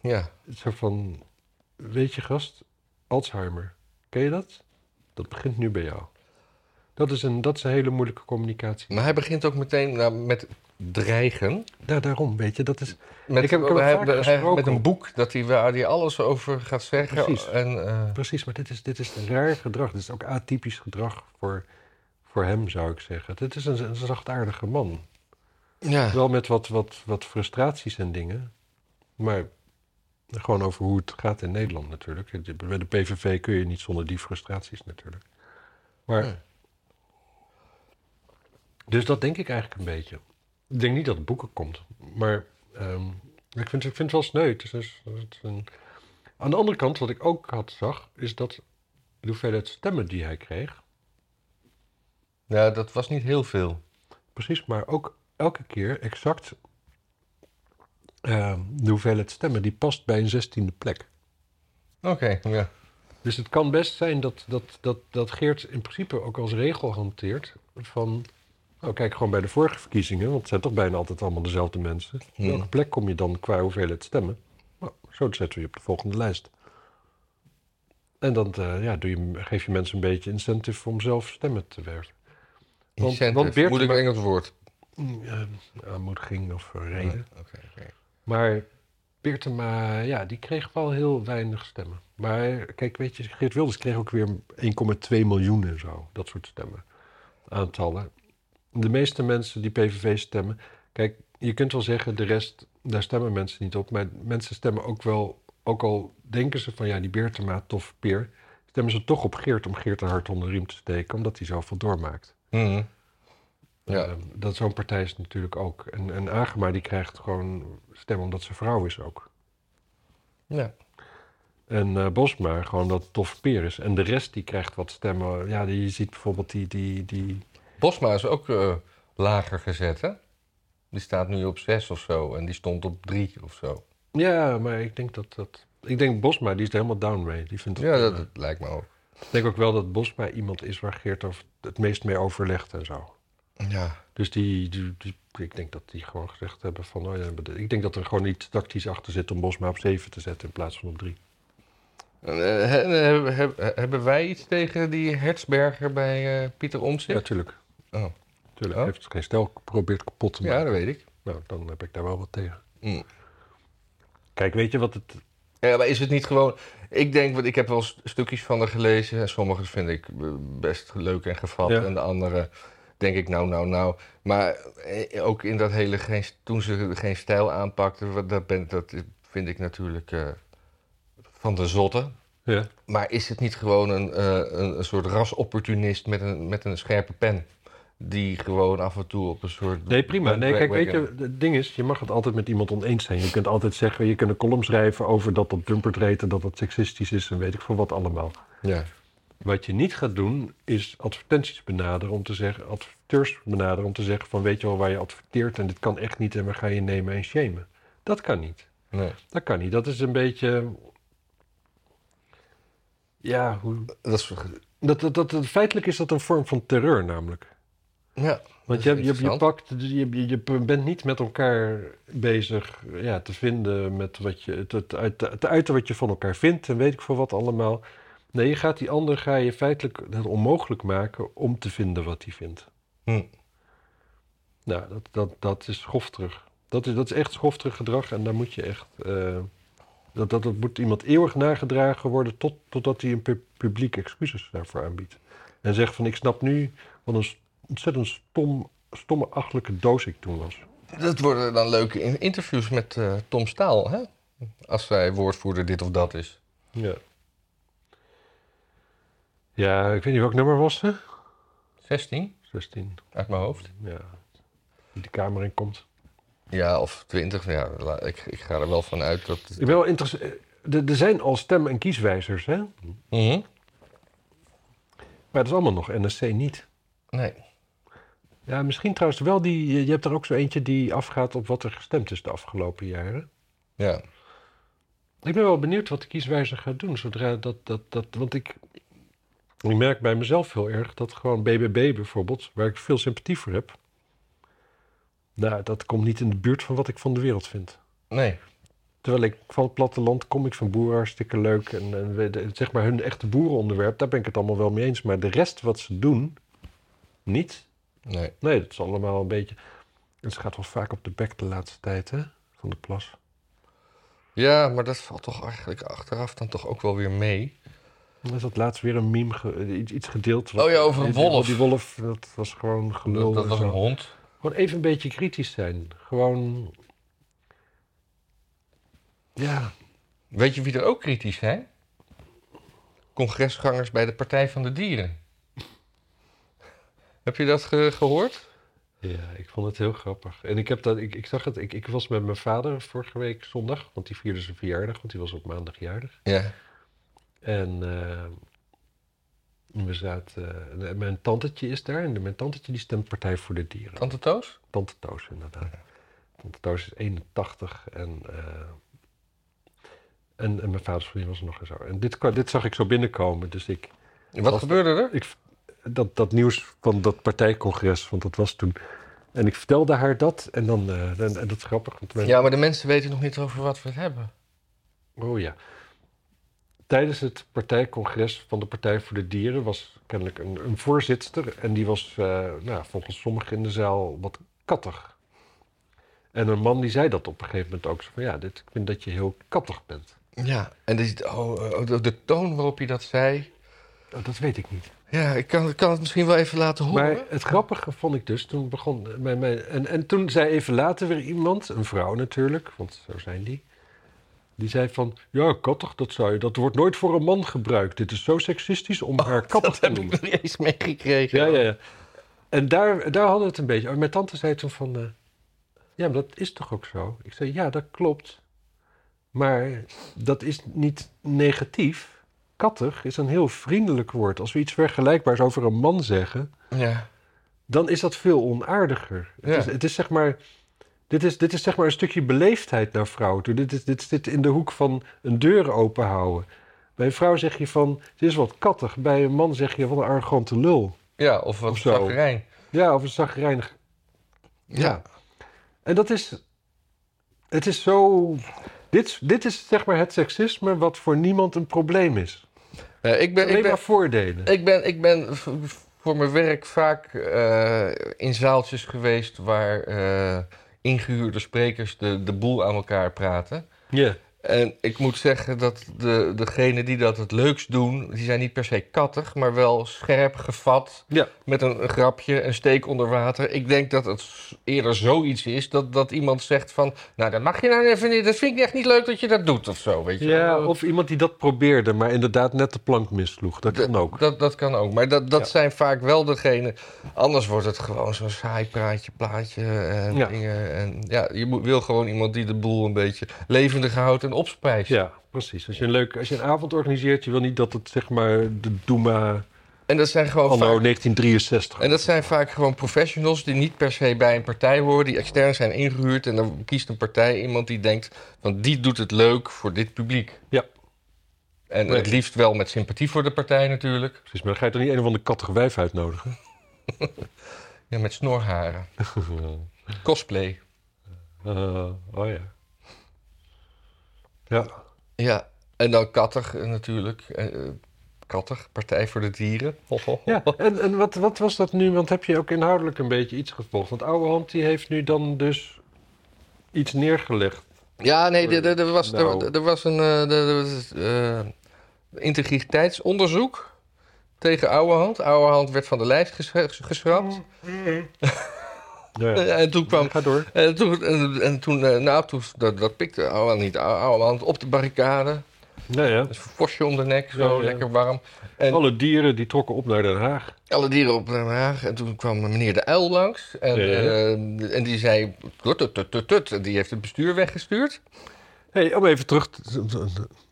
Speaker 2: Ja.
Speaker 1: Het is zo van, weet je gast, Alzheimer, ken je dat? Dat begint nu bij jou. Dat is een, dat is een hele moeilijke communicatie.
Speaker 2: Maar hij begint ook meteen nou, met dreigen.
Speaker 1: Daar, daarom, weet je, dat is...
Speaker 2: Met,
Speaker 1: Ik heb- ik heb
Speaker 2: hij-
Speaker 1: vaak
Speaker 2: hij-
Speaker 1: gesproken.
Speaker 2: met een boek dat hij, waar hij alles over gaat zeggen.
Speaker 1: Precies.
Speaker 2: En, eh,
Speaker 1: Precies, maar dit is, dit is een raar gedrag. Dit is ook atypisch gedrag voor, voor hem, zou ik zeggen. Dit is een, een zachtaardige man.
Speaker 2: ja.
Speaker 1: Wel met wat, wat, wat frustraties en dingen. Maar gewoon over hoe het gaat in Nederland natuurlijk. De- Bij de PVV kun je niet zonder die frustraties natuurlijk. Maar.
Speaker 2: Nee.
Speaker 1: Dus dat denk ik eigenlijk een beetje. Ik denk niet dat het boeken komt. Maar ehm, ik, vind, ik vind het wel sneu. Het is- het is- het is een- Aan de andere kant, wat ik ook had zag, is dat de hoeveelheid stemmen die hij kreeg.
Speaker 2: ja, dat was niet heel veel.
Speaker 1: Precies, maar ook elke keer exact eh, de hoeveelheid stemmen die past bij een zestiende plek.
Speaker 2: Oké, ja.
Speaker 1: Dus het kan best zijn dat, dat, dat, dat Geert in principe ook als regel hanteert van... Nou, kijk gewoon bij de vorige verkiezingen, want het zijn toch bijna altijd allemaal dezelfde mensen.
Speaker 2: Hmm.
Speaker 1: Welke plek kom je dan qua hoeveelheid stemmen? Nou, zo zetten we je op de volgende lijst. En dan eh, ja, doe je, geef je mensen een beetje incentive om zelf stemmen te werven. Want-
Speaker 2: Incentive.
Speaker 1: want Beertema-
Speaker 2: Moet ik een Engels woord?
Speaker 1: Mm, eh, aanmoediging of eh, reden.
Speaker 2: Oké, oké.
Speaker 1: Maar Beertema, ja, die kreeg wel heel weinig stemmen. Maar kijk, weet je, Geert Wilders kreeg ook weer 1,2 miljoen en zo. Dat soort stemmen. Aantallen. De meeste mensen die PVV stemmen... Kijk, je kunt wel zeggen, de rest, daar stemmen mensen niet op. Maar mensen stemmen ook wel... Ook al denken ze van, ja, die Beertema, tof peer... stemmen ze toch op Geert om Geert een hart onder de riem te steken... omdat hij zoveel doormaakt.
Speaker 2: Mhm. Ja.
Speaker 1: Eh, dat zo'n partij is natuurlijk ook. En, en Agema, die krijgt gewoon stemmen omdat ze vrouw is ook.
Speaker 2: ja.
Speaker 1: En eh Bosma, gewoon dat het tof peer is. En de rest die krijgt wat stemmen. Ja, die, je ziet bijvoorbeeld die, die, die...
Speaker 2: Bosma is ook eh, lager gezet, hè? Die staat nu op 6 of zo. En die stond op 3 of zo.
Speaker 1: Ja, maar ik denk dat dat... Ik denk Bosma, die is er helemaal down mee. Die vindt het
Speaker 2: Ja,
Speaker 1: prima.
Speaker 2: dat, dat lijkt me ook.
Speaker 1: Ik denk ook wel dat Bosma iemand is waar Geert over het meest mee overlegt en zo.
Speaker 2: Ja.
Speaker 1: Dus die, die, die- ik denk dat die gewoon gezegd hebben van... Oh ja, ik denk dat er gewoon iets tactisch achter zit om Bosma op 7 te zetten in plaats van op 3.
Speaker 2: En, eh, he- he- he- he- hebben wij iets tegen die Hertzberger bij eh, Pieter
Speaker 1: Ja,
Speaker 2: Omtzigt?
Speaker 1: tuurlijk.
Speaker 2: Oh.
Speaker 1: tuurlijk. Hij
Speaker 2: Oh.
Speaker 1: heeft geen stel geprobeerd kapot te maken.
Speaker 2: Ja, dat weet ik.
Speaker 1: Nou, dan heb ik daar wel wat tegen.
Speaker 2: Mm.
Speaker 1: Kijk, weet je wat het...
Speaker 2: Ja, maar is het niet gewoon... Ik denk, want ik heb wel st- stukjes van haar gelezen. En sommige vind ik eh, best leuk en gevat.
Speaker 1: Ja.
Speaker 2: En de andere denk ik, nou, nou, nou. Maar eh, ook in dat hele, geen, toen ze geen stijl aanpakte... wat- Dat, ben, dat vind ik natuurlijk eh, van de zotte.
Speaker 1: Ja.
Speaker 2: Maar is het niet gewoon een, eh, een, een soort rasopportunist met een, met een scherpe pen? Die gewoon af en toe op een soort...
Speaker 1: Nee, prima. Nee, kijk, weet
Speaker 2: bandwagon-
Speaker 1: je, het ding is, je mag het altijd met iemand oneens zijn. Je kunt altijd zeggen, je kunt een column schrijven over dat dat dumpert reed en dat dat seksistisch is en weet ik veel wat allemaal.
Speaker 2: Ja.
Speaker 1: Wat je niet gaat doen, is advertenties benaderen om te zeggen, adverteurs benaderen om te zeggen van weet je wel waar je adverteert en dit kan echt niet en we gaan je nemen en shamen. Dat kan niet.
Speaker 2: Nee.
Speaker 1: Dat kan niet. Dat is een beetje... Ja, hoe...
Speaker 2: Dat is...
Speaker 1: Dat, dat, dat, dat- feitelijk is dat een vorm van terreur namelijk.
Speaker 2: Ja,
Speaker 1: Want je, hebt-
Speaker 2: dat is
Speaker 1: je, hebt- je,
Speaker 2: interessant.
Speaker 1: pakt, dus je, je, je bent niet met elkaar bezig ja, te vinden met wat je, het, het, uit, het uiten wat je van elkaar vindt en weet ik veel wat allemaal. Nee, je gaat die ander ga je feitelijk het onmogelijk maken om te vinden wat hij vindt.
Speaker 2: Hm.
Speaker 1: Nou, dat, dat, dat is schofterig. Dat is, dat is echt schofterig gedrag en daar moet je echt. eh, dat, dat, dat moet iemand eeuwig nagedragen worden tot, totdat hij een pu- publiek excuses daarvoor aanbiedt. En zegt van ik snap nu wat een s- ontzettend stom, stomme, achtelijke doos ik toen was.
Speaker 2: Dat worden dan leuke in- interviews met eh, Tom Staal, hè? Als zij woordvoerder dit of dat is.
Speaker 1: Ja. Ja, ik weet niet welk nummer was ze.
Speaker 2: 16,
Speaker 1: 16.
Speaker 2: uit mijn hoofd.
Speaker 1: Ja. Die de kamer in komt.
Speaker 2: Ja, of 20. Ja, la- ik, ik ga er wel van uit dat...
Speaker 1: Ik ben wel interessant. Er er zijn al stem- en kieswijzers, hè?
Speaker 2: Mhm.
Speaker 1: Maar dat is allemaal nog NSC niet.
Speaker 2: Nee.
Speaker 1: Ja, misschien trouwens wel die. Je je hebt er ook zo eentje die afgaat op wat er gestemd is de afgelopen jaren.
Speaker 2: Ja.
Speaker 1: Ik ben wel benieuwd wat de kieswijzer gaat doen zodra dat. dat, dat want ik, ik merk bij mezelf heel erg dat gewoon BBB bijvoorbeeld, waar ik veel sympathie voor heb. Nou, dat komt niet in de buurt van wat ik van de wereld vind.
Speaker 2: Nee.
Speaker 1: Terwijl ik van het platteland kom, ik vind boeren hartstikke leuk. En, en we- de- zeg maar hun echte boerenonderwerp, daar ben ik het allemaal wel mee eens. Maar de rest wat ze doen, niet.
Speaker 2: Nee.
Speaker 1: Nee, dat is allemaal een beetje. En ze gaat wel vaak op de bek de laatste tijd, hè? Van de plas.
Speaker 2: Ja, maar dat valt toch eigenlijk achteraf dan toch ook wel weer mee.
Speaker 1: Er is dat laatst weer een meme, ge- eh, iets, iets gedeeld.
Speaker 2: Oh ja, over een
Speaker 1: die- die-
Speaker 2: wolf.
Speaker 1: Die wolf, dat was gewoon gelul.
Speaker 2: Dat, dat
Speaker 1: en
Speaker 2: was
Speaker 1: zo.
Speaker 2: een hond.
Speaker 1: Gewoon even een beetje kritisch zijn. Gewoon. Ja.
Speaker 2: Weet je wie er ook kritisch zijn? Congresgangers bij de Partij van de Dieren. Heb je dat ge- gehoord?
Speaker 1: Ja, ik vond het heel grappig. En ik, heb dat, ik, ik zag het, ik, ik was met mijn vader vorige week zondag, want die vierde zijn verjaardag, want die was op maandag jarig.
Speaker 2: Ja.
Speaker 1: En eh, we zaten. en mijn tantetje is daar. En mijn tantetje die stemt Partij voor de Dieren.
Speaker 2: Tante Toos?
Speaker 1: Tante Toos, inderdaad. Tante Toos is 81 en. eh, en, en mijn vaders vriendin was er nog en zo. En dit, kwa- dit zag ik zo binnenkomen. Dus ik,
Speaker 2: Wat
Speaker 1: Was-
Speaker 2: gebeurde er?
Speaker 1: ik. Dat, dat nieuws van dat partijcongres, want dat was toen. En ik vertelde haar dat. En dan. eh, en, en dat is grappig. Want mijn-
Speaker 2: Ja, maar de mensen weten nog niet over wat we het hebben.
Speaker 1: Oh ja. Tijdens het partijcongres van de Partij voor de Dieren was kennelijk een, een voorzitter. En die was eh, nou, volgens sommigen in de zaal wat kattig. En een man die zei dat op een gegeven moment ook. Zo van ja, dit, ik vind dat je heel kattig bent.
Speaker 2: Ja, en dus- oh, oh, de, de toon waarop je dat zei.
Speaker 1: Nou, dat weet ik niet.
Speaker 2: Ja, ik kan, ik kan het misschien wel even laten horen.
Speaker 1: Maar het grappige vond ik dus, toen begon mijn... mijn en, en toen zei even later weer iemand, een vrouw natuurlijk, want zo zijn die... Die zei van, ja, kattig, dat zou je... Dat wordt nooit voor een man gebruikt. Dit is zo seksistisch om haar kattig
Speaker 2: dat
Speaker 1: te
Speaker 2: heb
Speaker 1: noemen.
Speaker 2: ik niet eens meegekregen.
Speaker 1: Ja, ja, ja. En daar, daar hadden we het een beetje. over. Mijn tante zei toen van... eh, ja, maar dat is toch ook zo? Ik zei, ja, dat klopt. Maar dat is niet negatief. Kattig is een heel vriendelijk woord. Als we iets vergelijkbaars over een man zeggen...
Speaker 2: Ja.
Speaker 1: dan is dat veel onaardiger.
Speaker 2: Ja.
Speaker 1: Het, is, het is zeg maar... Dit is, dit is zeg maar een stukje beleefdheid naar vrouwen toe. Dit, is, dit zit in de hoek van een deur open houden. Bij een vrouw zeg je van, het is wat kattig. Bij een man zeg je, wat een arrogante lul.
Speaker 2: Ja, of wat
Speaker 1: Of zo.
Speaker 2: zagrijn.
Speaker 1: Ja, of een zagrijnig Ja. En dat is. Het is zo. Dit, dit is zeg maar het seksisme wat voor niemand een probleem is.
Speaker 2: Ja, ik ben, ik
Speaker 1: Alleen
Speaker 2: ben,
Speaker 1: maar voordelen.
Speaker 2: Ik ben, ik ben v- voor mijn werk vaak eh, in zaaltjes geweest waar eh, ingehuurde sprekers de, de boel aan elkaar praten.
Speaker 1: Ja.
Speaker 2: En ik moet zeggen dat de, degenen die dat het leukst doen, die zijn niet per se kattig, maar wel scherp gevat.
Speaker 1: Ja.
Speaker 2: Met een, een grapje, een steek onder water. Ik denk dat het s- eerder zoiets is dat, dat iemand zegt van, nou dat mag je nou even niet, dat vind ik echt niet leuk dat je dat doet of zo, weet je wel.
Speaker 1: ja, of iemand die dat probeerde, maar inderdaad net de plank missloeg. Dat kan ook.
Speaker 2: Dat, dat kan ook. Maar dat, dat
Speaker 1: Ja.
Speaker 2: zijn vaak wel degenen. Anders wordt het gewoon zo'n saai praatje, plaatje en
Speaker 1: Ja.
Speaker 2: dingen. En ja, je moet, wil gewoon iemand die de boel een beetje levendig houdt en opspijst.
Speaker 1: Ja, precies. Als je, een leuk, als je een avond organiseert, je wil niet dat het zeg maar de Doema
Speaker 2: En, dat zijn gewoon
Speaker 1: anno
Speaker 2: vaak,
Speaker 1: 1963.
Speaker 2: en dat zijn vaak gewoon professionals die niet per se bij een partij horen, die extern zijn ingehuurd. En dan kiest een partij iemand die denkt: van die doet het leuk voor dit publiek.
Speaker 1: Ja.
Speaker 2: En
Speaker 1: Nee.
Speaker 2: het liefst wel met sympathie voor de partij natuurlijk.
Speaker 1: Precies, maar dan ga je toch niet een of andere kattige wijf uitnodigen?
Speaker 2: Ja, met snorharen. Cosplay.
Speaker 1: Eh, oh ja. Ja.
Speaker 2: Ja, en dan kattig eh, natuurlijk. Eh, eh, kattig, Partij voor de Dieren.
Speaker 1: ja. En, en wat, wat was dat nu? Want heb je ook inhoudelijk een beetje iets gevolgd? Want oude hand die heeft nu dan dus iets neergelegd.
Speaker 2: Ja, nee, er- er- er was,
Speaker 1: Nou.
Speaker 2: er- er was een eh, er- er was, eh, integriteitsonderzoek tegen Ouwehand. Ouwehand werd van de lijst ges- geschrapt.
Speaker 1: Nou ja.
Speaker 2: Eh, En toen kwam...
Speaker 1: Ga door.
Speaker 2: En toen, en, en toen eh, nou, toen, dat, dat pikte Ouwehand niet. Ouwehand op de barricade.
Speaker 1: Nou ja.
Speaker 2: Dus een forsje om de nek, zo
Speaker 1: Oh, Ja, ja.
Speaker 2: lekker warm. En-
Speaker 1: Alle dieren die trokken op naar Den Haag.
Speaker 2: Alle dieren op Den Haag. En toen kwam meneer De Uil langs. En,
Speaker 1: Ja.
Speaker 2: eh, en die zei... Tut, tut, tut, tut, tut. En Die heeft het bestuur weggestuurd.
Speaker 1: hey, om even terug. te-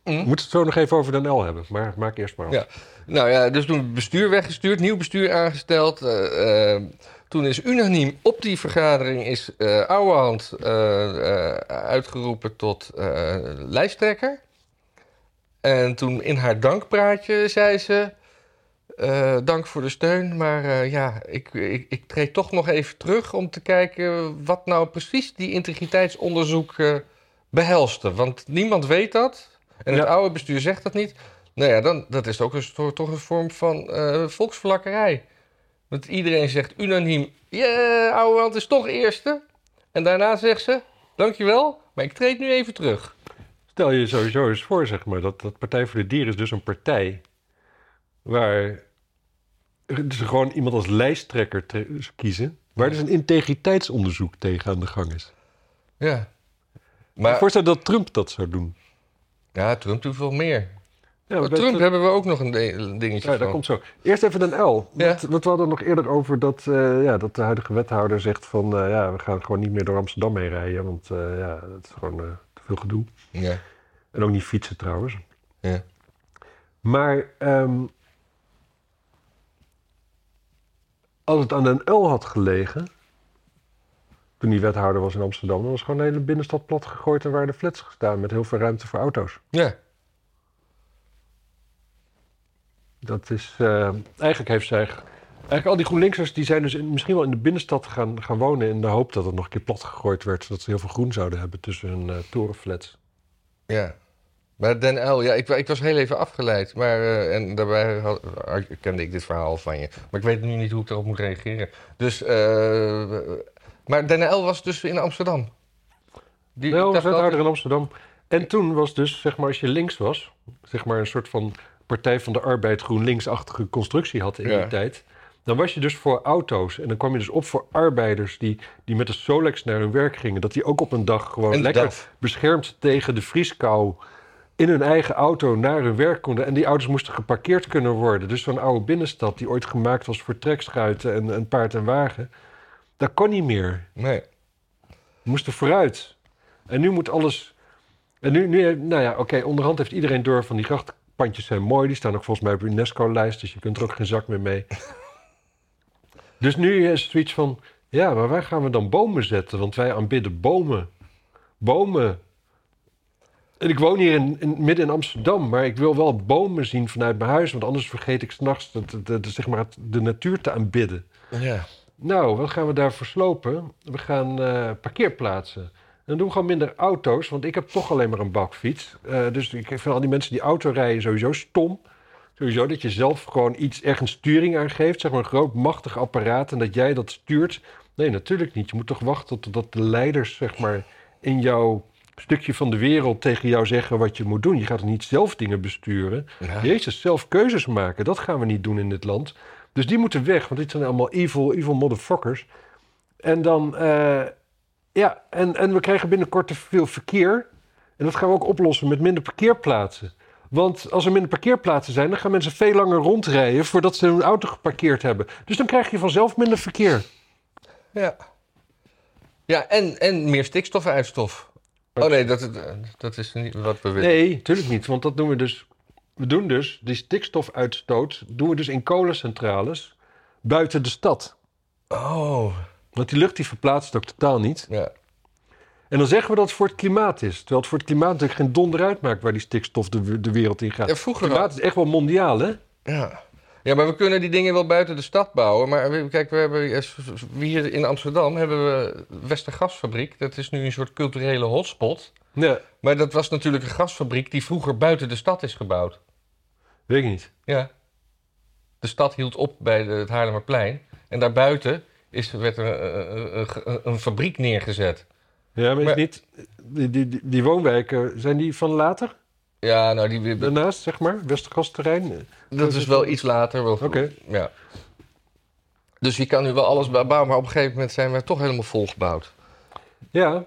Speaker 1: We moeten het zo nog even over Den L hebben. Maar maak eerst maar af.
Speaker 2: Mm. Ja. Nou ja, dus toen het bestuur weggestuurd, nieuw bestuur aangesteld. eh, eh, toen is unaniem op die vergadering is eh Ouwehand eh, eh, uitgeroepen tot eh, lijsttrekker. En toen in haar dankpraatje zei ze... eh, dank voor de steun, maar eh, ja, ik, ik, ik treed toch nog even terug om te kijken wat nou precies die integriteitsonderzoek eh, behelste. Want niemand weet dat en het
Speaker 1: Ja.
Speaker 2: oude bestuur zegt dat niet. Nou ja, dan, dat is ook een, soort- toch een vorm van eh volksverlakkerij. Want iedereen zegt unaniem, yeah, oude hand is toch eerste. En daarna zegt ze, dankjewel, maar ik treed nu even terug.
Speaker 1: Stel je sowieso eens voor, zeg maar, dat, dat Partij voor de Dieren is dus een partij waar ze gewoon iemand als lijsttrekker tre- kiezen, waar dus een integriteitsonderzoek tegen aan de gang is.
Speaker 2: Ja.
Speaker 1: Maar,
Speaker 2: Maar
Speaker 1: Voorstel dat Trump dat zou doen.
Speaker 2: ja, Trump doet veel meer.
Speaker 1: Ja,
Speaker 2: Voor
Speaker 1: dat-
Speaker 2: Oh, Trump
Speaker 1: dat-
Speaker 2: hebben we ook nog een de- een dingetje
Speaker 1: ja, dat
Speaker 2: van.
Speaker 1: komt zo. Eerst even een L.
Speaker 2: Ja.
Speaker 1: Want, want we hadden nog eerder over dat, eh, ja, dat de huidige wethouder zegt van... eh, ja, we gaan gewoon niet meer door Amsterdam heen rijden, want eh, ja, dat is gewoon eh, te veel gedoe.
Speaker 2: Ja.
Speaker 1: En ook niet fietsen trouwens.
Speaker 2: Ja.
Speaker 1: Maar ehm, als het aan Den L had gelegen, toen die wethouder was in Amsterdam, dan was gewoon de hele binnenstad plat gegooid en waren de flats gestaan met heel veel ruimte voor auto's.
Speaker 2: ja.
Speaker 1: Dat is, eh, eigenlijk heeft zij, eigenlijk al die GroenLinksers, die zijn dus in- misschien wel in de binnenstad gaan, gaan wonen in de hoop dat het nog een keer plat gegooid werd, zodat ze heel veel groen zouden hebben tussen hun eh, torenflats.
Speaker 2: Ja. Maar Den L, ja, ik, wa- ik was heel even afgeleid. Maar, eh, en daarbij had, had- kende ik dit verhaal van je. Maar ik weet nu niet hoe ik daarop moet reageren. Dus, eh, maar Den L was dus in Amsterdam. Die,
Speaker 1: Nou,
Speaker 2: ik
Speaker 1: was
Speaker 2: dacht
Speaker 1: wethouder
Speaker 2: altijd-
Speaker 1: in Amsterdam. En toen was dus, zeg maar, als je links was, zeg maar een soort van Partij van de Arbeid GroenLinks-achtige constructie had in
Speaker 2: Ja.
Speaker 1: die tijd. Dan was je dus voor auto's en dan kwam je dus op voor arbeiders die, die met de Solex naar hun werk gingen. Dat die ook op een dag gewoon
Speaker 2: Inderdaad.
Speaker 1: lekker beschermd tegen de vrieskou in hun eigen auto naar hun werk konden. En die auto's moesten geparkeerd kunnen worden. Dus zo'n oude binnenstad die ooit gemaakt was voor trekschuiten en, en paard en wagen. Dat kon niet meer.
Speaker 2: Nee.
Speaker 1: We moesten vooruit. En nu moet alles. En nu, nu nou ja, oké, onderhand heeft iedereen door van die grachtpandjes zijn mooi. Die staan ook volgens mij op de UNESCO-lijst, dus je kunt er ook geen zak meer mee. dus nu is het zoiets van: ja, maar waar gaan we dan bomen zetten? Want wij aanbidden bomen. Bomen. En ik woon hier in, in- midden in Amsterdam, maar ik wil wel bomen zien vanuit mijn huis, want anders vergeet ik s'nachts de, de, de, zeg maar het- de natuur te aanbidden.
Speaker 2: Ja.
Speaker 1: Nou, wat gaan we daar verslopen? We gaan eh, parkeerplaatsen. En dan doen we gewoon minder auto's, want ik heb toch alleen maar een bakfiets. Eh, dus ik vind al die mensen die auto rijden sowieso stom. Sowieso dat je zelf gewoon iets, ergens sturing aan geeft. Zeg maar een groot machtig apparaat en dat jij dat stuurt. Nee, natuurlijk niet. Je moet toch wachten totdat de leiders zeg maar, in jouw stukje van de wereld tegen jou zeggen wat je moet doen. Je gaat toch niet zelf dingen besturen.
Speaker 2: Ja.
Speaker 1: Jezus, zelf keuzes maken, dat gaan we niet doen in dit land. Dus die moeten weg, want dit zijn allemaal evil, evil motherfuckers. En dan, eh, ja, en, en we krijgen binnenkort te veel verkeer. En dat gaan we ook oplossen met minder parkeerplaatsen. Want als er minder parkeerplaatsen zijn, dan gaan mensen veel langer rondrijden voordat ze hun auto geparkeerd hebben. Dus dan krijg je vanzelf minder verkeer.
Speaker 2: Ja. Ja, en, en meer stikstofuitstof. Oh nee, dat, dat is niet wat we willen.
Speaker 1: Nee, natuurlijk niet, want dat doen we dus. We doen dus die stikstofuitstoot doen we dus in kolencentrales buiten de stad.
Speaker 2: Oh.
Speaker 1: Want die lucht die verplaatst ook totaal niet.
Speaker 2: Ja.
Speaker 1: En dan zeggen we dat het voor het klimaat is. Terwijl het voor het klimaat natuurlijk geen donder uitmaakt waar die stikstof de, de wereld in gaat.
Speaker 2: ja vroeger
Speaker 1: klimaat is echt wel mondiaal, hè?
Speaker 2: Ja. Ja, maar we kunnen die dingen wel buiten de stad bouwen. Maar we- kijk, we hebben eh, s- s- hier in Amsterdam hebben we Westergasfabriek. Dat is nu een soort culturele hotspot.
Speaker 1: Nee,
Speaker 2: Maar dat was natuurlijk een gasfabriek die vroeger buiten de stad is gebouwd.
Speaker 1: weet ik niet.
Speaker 2: Ja. De stad hield op bij de, het Haarlemmerplein. En daarbuiten is, werd er eh, eh, eh, een fabriek neergezet.
Speaker 1: Ja, maar, is
Speaker 2: Maar-
Speaker 1: niet, die, die, die, die woonwijken, zijn die van later?
Speaker 2: Ja, nou, die, die-
Speaker 1: Daarnaast, zeg maar? Westergasterrein? Oké.
Speaker 2: dat is wel iets later. Wel, Ja. Dus je kan nu wel alles bouwen, maar op een gegeven moment zijn we toch helemaal volgebouwd.
Speaker 1: Ja,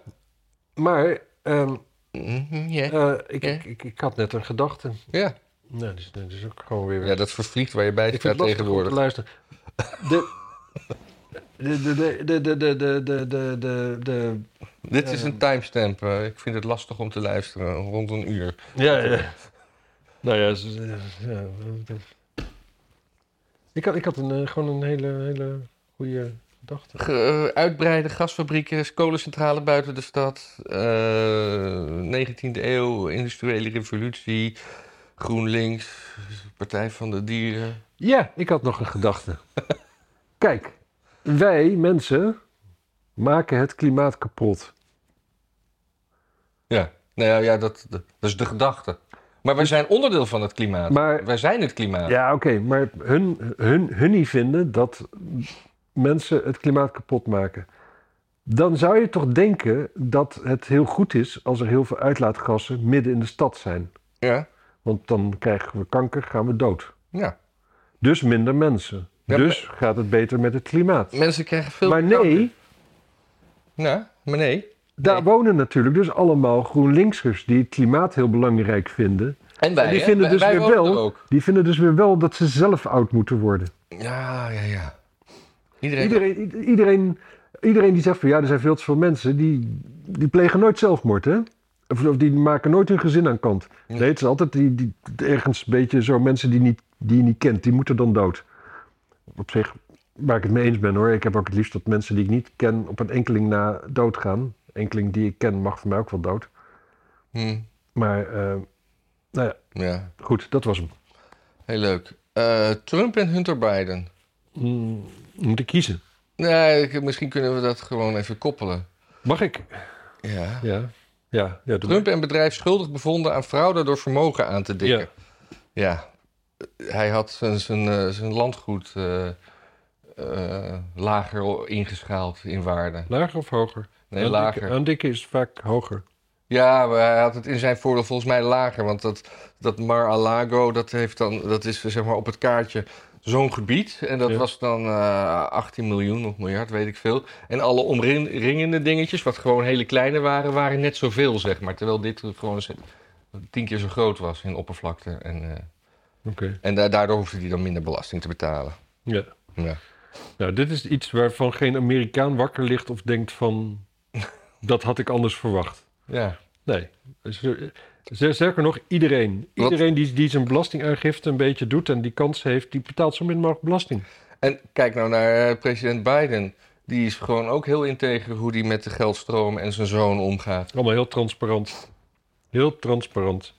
Speaker 1: maar ehm,
Speaker 2: Mhm, ja.
Speaker 1: eh, ik,
Speaker 2: Ja.
Speaker 1: ik, ik, ik had net een gedachte.
Speaker 2: Ja.
Speaker 1: Nou, dus dat is ook gewoon weer...
Speaker 2: ja, dat vervliegt waar je bij
Speaker 1: ik
Speaker 2: staat
Speaker 1: vind het lastig om te
Speaker 2: tegenwoordig.
Speaker 1: luisteren. De... De, de, de, de, de, de, de, de, de, de-
Speaker 2: Dit is een timestamp. eh, Ik vind het lastig om te luisteren, rond een uur.
Speaker 1: Ja, ja. Nou ja, ze- ze- ja. Ik had, ik had een, eh, gewoon een hele, hele goede gedachte.
Speaker 2: Ge- eh, uitbreiden, gasfabrieken, kolencentrale buiten de stad. eh, 19e eeuw, industriële revolutie, GroenLinks, Partij van de Dieren.
Speaker 1: Ja, ik had nog een gedachte. Kijk, wij mensen maken het klimaat kapot.
Speaker 2: Ja, nou ja, ja dat, dat is de gedachte. Maar wij zijn onderdeel van het klimaat.
Speaker 1: Maar
Speaker 2: wij zijn het klimaat.
Speaker 1: ja, oké, maar hun, hun, hun niet vinden dat mensen het klimaat kapot maken. Dan zou je toch denken dat het heel goed is als er heel veel uitlaatgassen midden in de stad zijn.
Speaker 2: Ja,
Speaker 1: Want dan krijgen we kanker, gaan we dood.
Speaker 2: ja.
Speaker 1: Dus minder mensen.
Speaker 2: Ja,
Speaker 1: dus gaat het beter met het klimaat.
Speaker 2: Mensen krijgen veel
Speaker 1: Maar
Speaker 2: kanker.
Speaker 1: nee,
Speaker 2: Ja, Nou, maar nee.
Speaker 1: daar
Speaker 2: Nee.
Speaker 1: wonen natuurlijk dus allemaal GroenLinksers die het klimaat heel belangrijk vinden.
Speaker 2: En wij,
Speaker 1: En die
Speaker 2: hè?
Speaker 1: vinden
Speaker 2: Wij-
Speaker 1: dus
Speaker 2: wij
Speaker 1: weer
Speaker 2: wonen
Speaker 1: wel-
Speaker 2: er ook.
Speaker 1: Die vinden dus weer wel dat ze zelf oud moeten worden.
Speaker 2: Ja, ja, ja. Iedereen,
Speaker 1: Iedereen, i- iedereen, iedereen die zegt van ja, er zijn veel te veel mensen, die, die plegen nooit zelfmoord, hè? Of, of die maken nooit hun gezin aan kant.
Speaker 2: Ja.
Speaker 1: Nee, het is altijd die, die, ergens een beetje zo mensen die, niet, die je niet kent, die moeten dan dood. Op zich, waar ik het mee eens ben hoor, ik heb ook het liefst dat mensen die ik niet ken op een enkeling na doodgaan. Enkeling die ik ken mag voor mij ook wel dood.
Speaker 2: Hm,
Speaker 1: Maar eh, nou ja,
Speaker 2: ja,
Speaker 1: goed, dat was hem.
Speaker 2: heel leuk. Eh, Trump en Hunter Biden.
Speaker 1: Mm, moet ik kiezen?
Speaker 2: Nee, ik- misschien kunnen we dat gewoon even koppelen.
Speaker 1: Mag ik?
Speaker 2: Ja.
Speaker 1: Ja, ja, ja doe
Speaker 2: Trump en bedrijf schuldig bevonden aan fraude door vermogen aan te
Speaker 1: maar.
Speaker 2: dikken. Ja. Hij had zijn, zijn, eh, zijn landgoed eh, eh, lager ingeschaald in waarde.
Speaker 1: Lager of hoger?
Speaker 2: Nee,
Speaker 1: Aan
Speaker 2: lager.
Speaker 1: dikke- aan dikke is vaak hoger.
Speaker 2: Ja, maar hij had het in zijn voordeel volgens mij lager. Want dat, dat Mar-a-Lago, dat, heeft dan- dat is zeg maar op het kaartje zo'n gebied. En dat
Speaker 1: Ja.
Speaker 2: was dan eh 18 miljoen of miljard, weet ik veel. En alle omringende dingetjes, wat gewoon hele kleine waren, waren net zoveel, zeg maar. Terwijl dit gewoon z- tien keer zo groot was in oppervlakte. En, eh,
Speaker 1: Oké.
Speaker 2: en da- daardoor hoefde hij dan minder belasting te betalen.
Speaker 1: Ja.
Speaker 2: Ja.
Speaker 1: Nou, dit is iets waarvan geen Amerikaan wakker ligt of denkt van... dat had ik anders verwacht.
Speaker 2: ja.
Speaker 1: Nee. Dus, Z- Sterker nog, iedereen.
Speaker 2: Wat-
Speaker 1: Iedereen die, die zijn belastingaangifte een beetje doet en die kans heeft... die betaalt zo min mogelijk belasting.
Speaker 2: En kijk nou naar eh, president Biden. Die is gewoon ook heel integer hoe hij met de geldstroom en zijn zoon omgaat.
Speaker 1: Allemaal heel transparant. Heel transparant.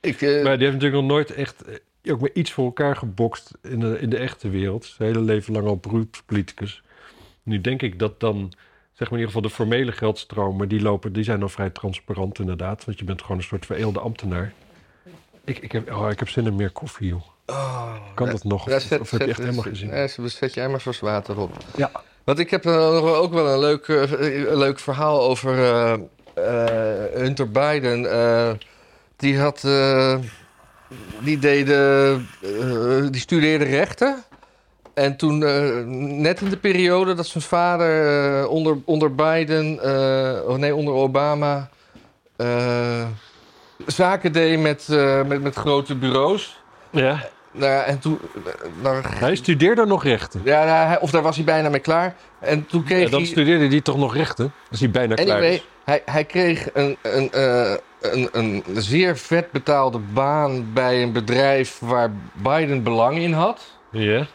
Speaker 2: Ik, eh,
Speaker 1: Maar die heeft natuurlijk nog nooit echt... eh, ook maar iets voor elkaar gebokst in de, in de echte wereld. Zijn hele leven lang al beroepspoliticus. Nu denk ik dat dan... Zeg maar in ieder geval de formele geldstromen, die lopen, die zijn dan vrij transparant inderdaad. Want je bent gewoon een soort vereelde ambtenaar. Ik, ik, heb, oh, ik heb zin in meer koffie, joh.
Speaker 2: Oh,
Speaker 1: Kan
Speaker 2: ja,
Speaker 1: dat nog?
Speaker 2: ja,
Speaker 1: Of, of heb je echt helemaal
Speaker 2: zet-
Speaker 1: gezien?
Speaker 2: ja, zet- zet jij maar vast water op.
Speaker 1: Ja.
Speaker 2: Want ik heb eh, nog wel- ook wel een leuk, eh, een leuk verhaal over eh, eh, Hunter Biden. Eh, die had... eh, die deed... eh, eh, die studeerde rechten. En toen, eh, net in de periode dat zijn vader eh, onder, onder Biden... eh, oh nee, onder Obama... eh, zaken deed met, eh, met, met grote bureaus...
Speaker 1: ja.
Speaker 2: Nou ja, en toen. nou,
Speaker 1: Hij studeerde nog rechten.
Speaker 2: ja, nou, hij- of daar was hij bijna mee klaar. En toen kreeg
Speaker 1: Ja, dan
Speaker 2: hij.
Speaker 1: studeerde hij toch nog rechten? Als hij bijna klaar dus.
Speaker 2: Anyway,
Speaker 1: is.
Speaker 2: hij, hij kreeg een, een, eh, een, een zeer vet betaalde baan bij een bedrijf waar Biden belang in had.
Speaker 1: Ja.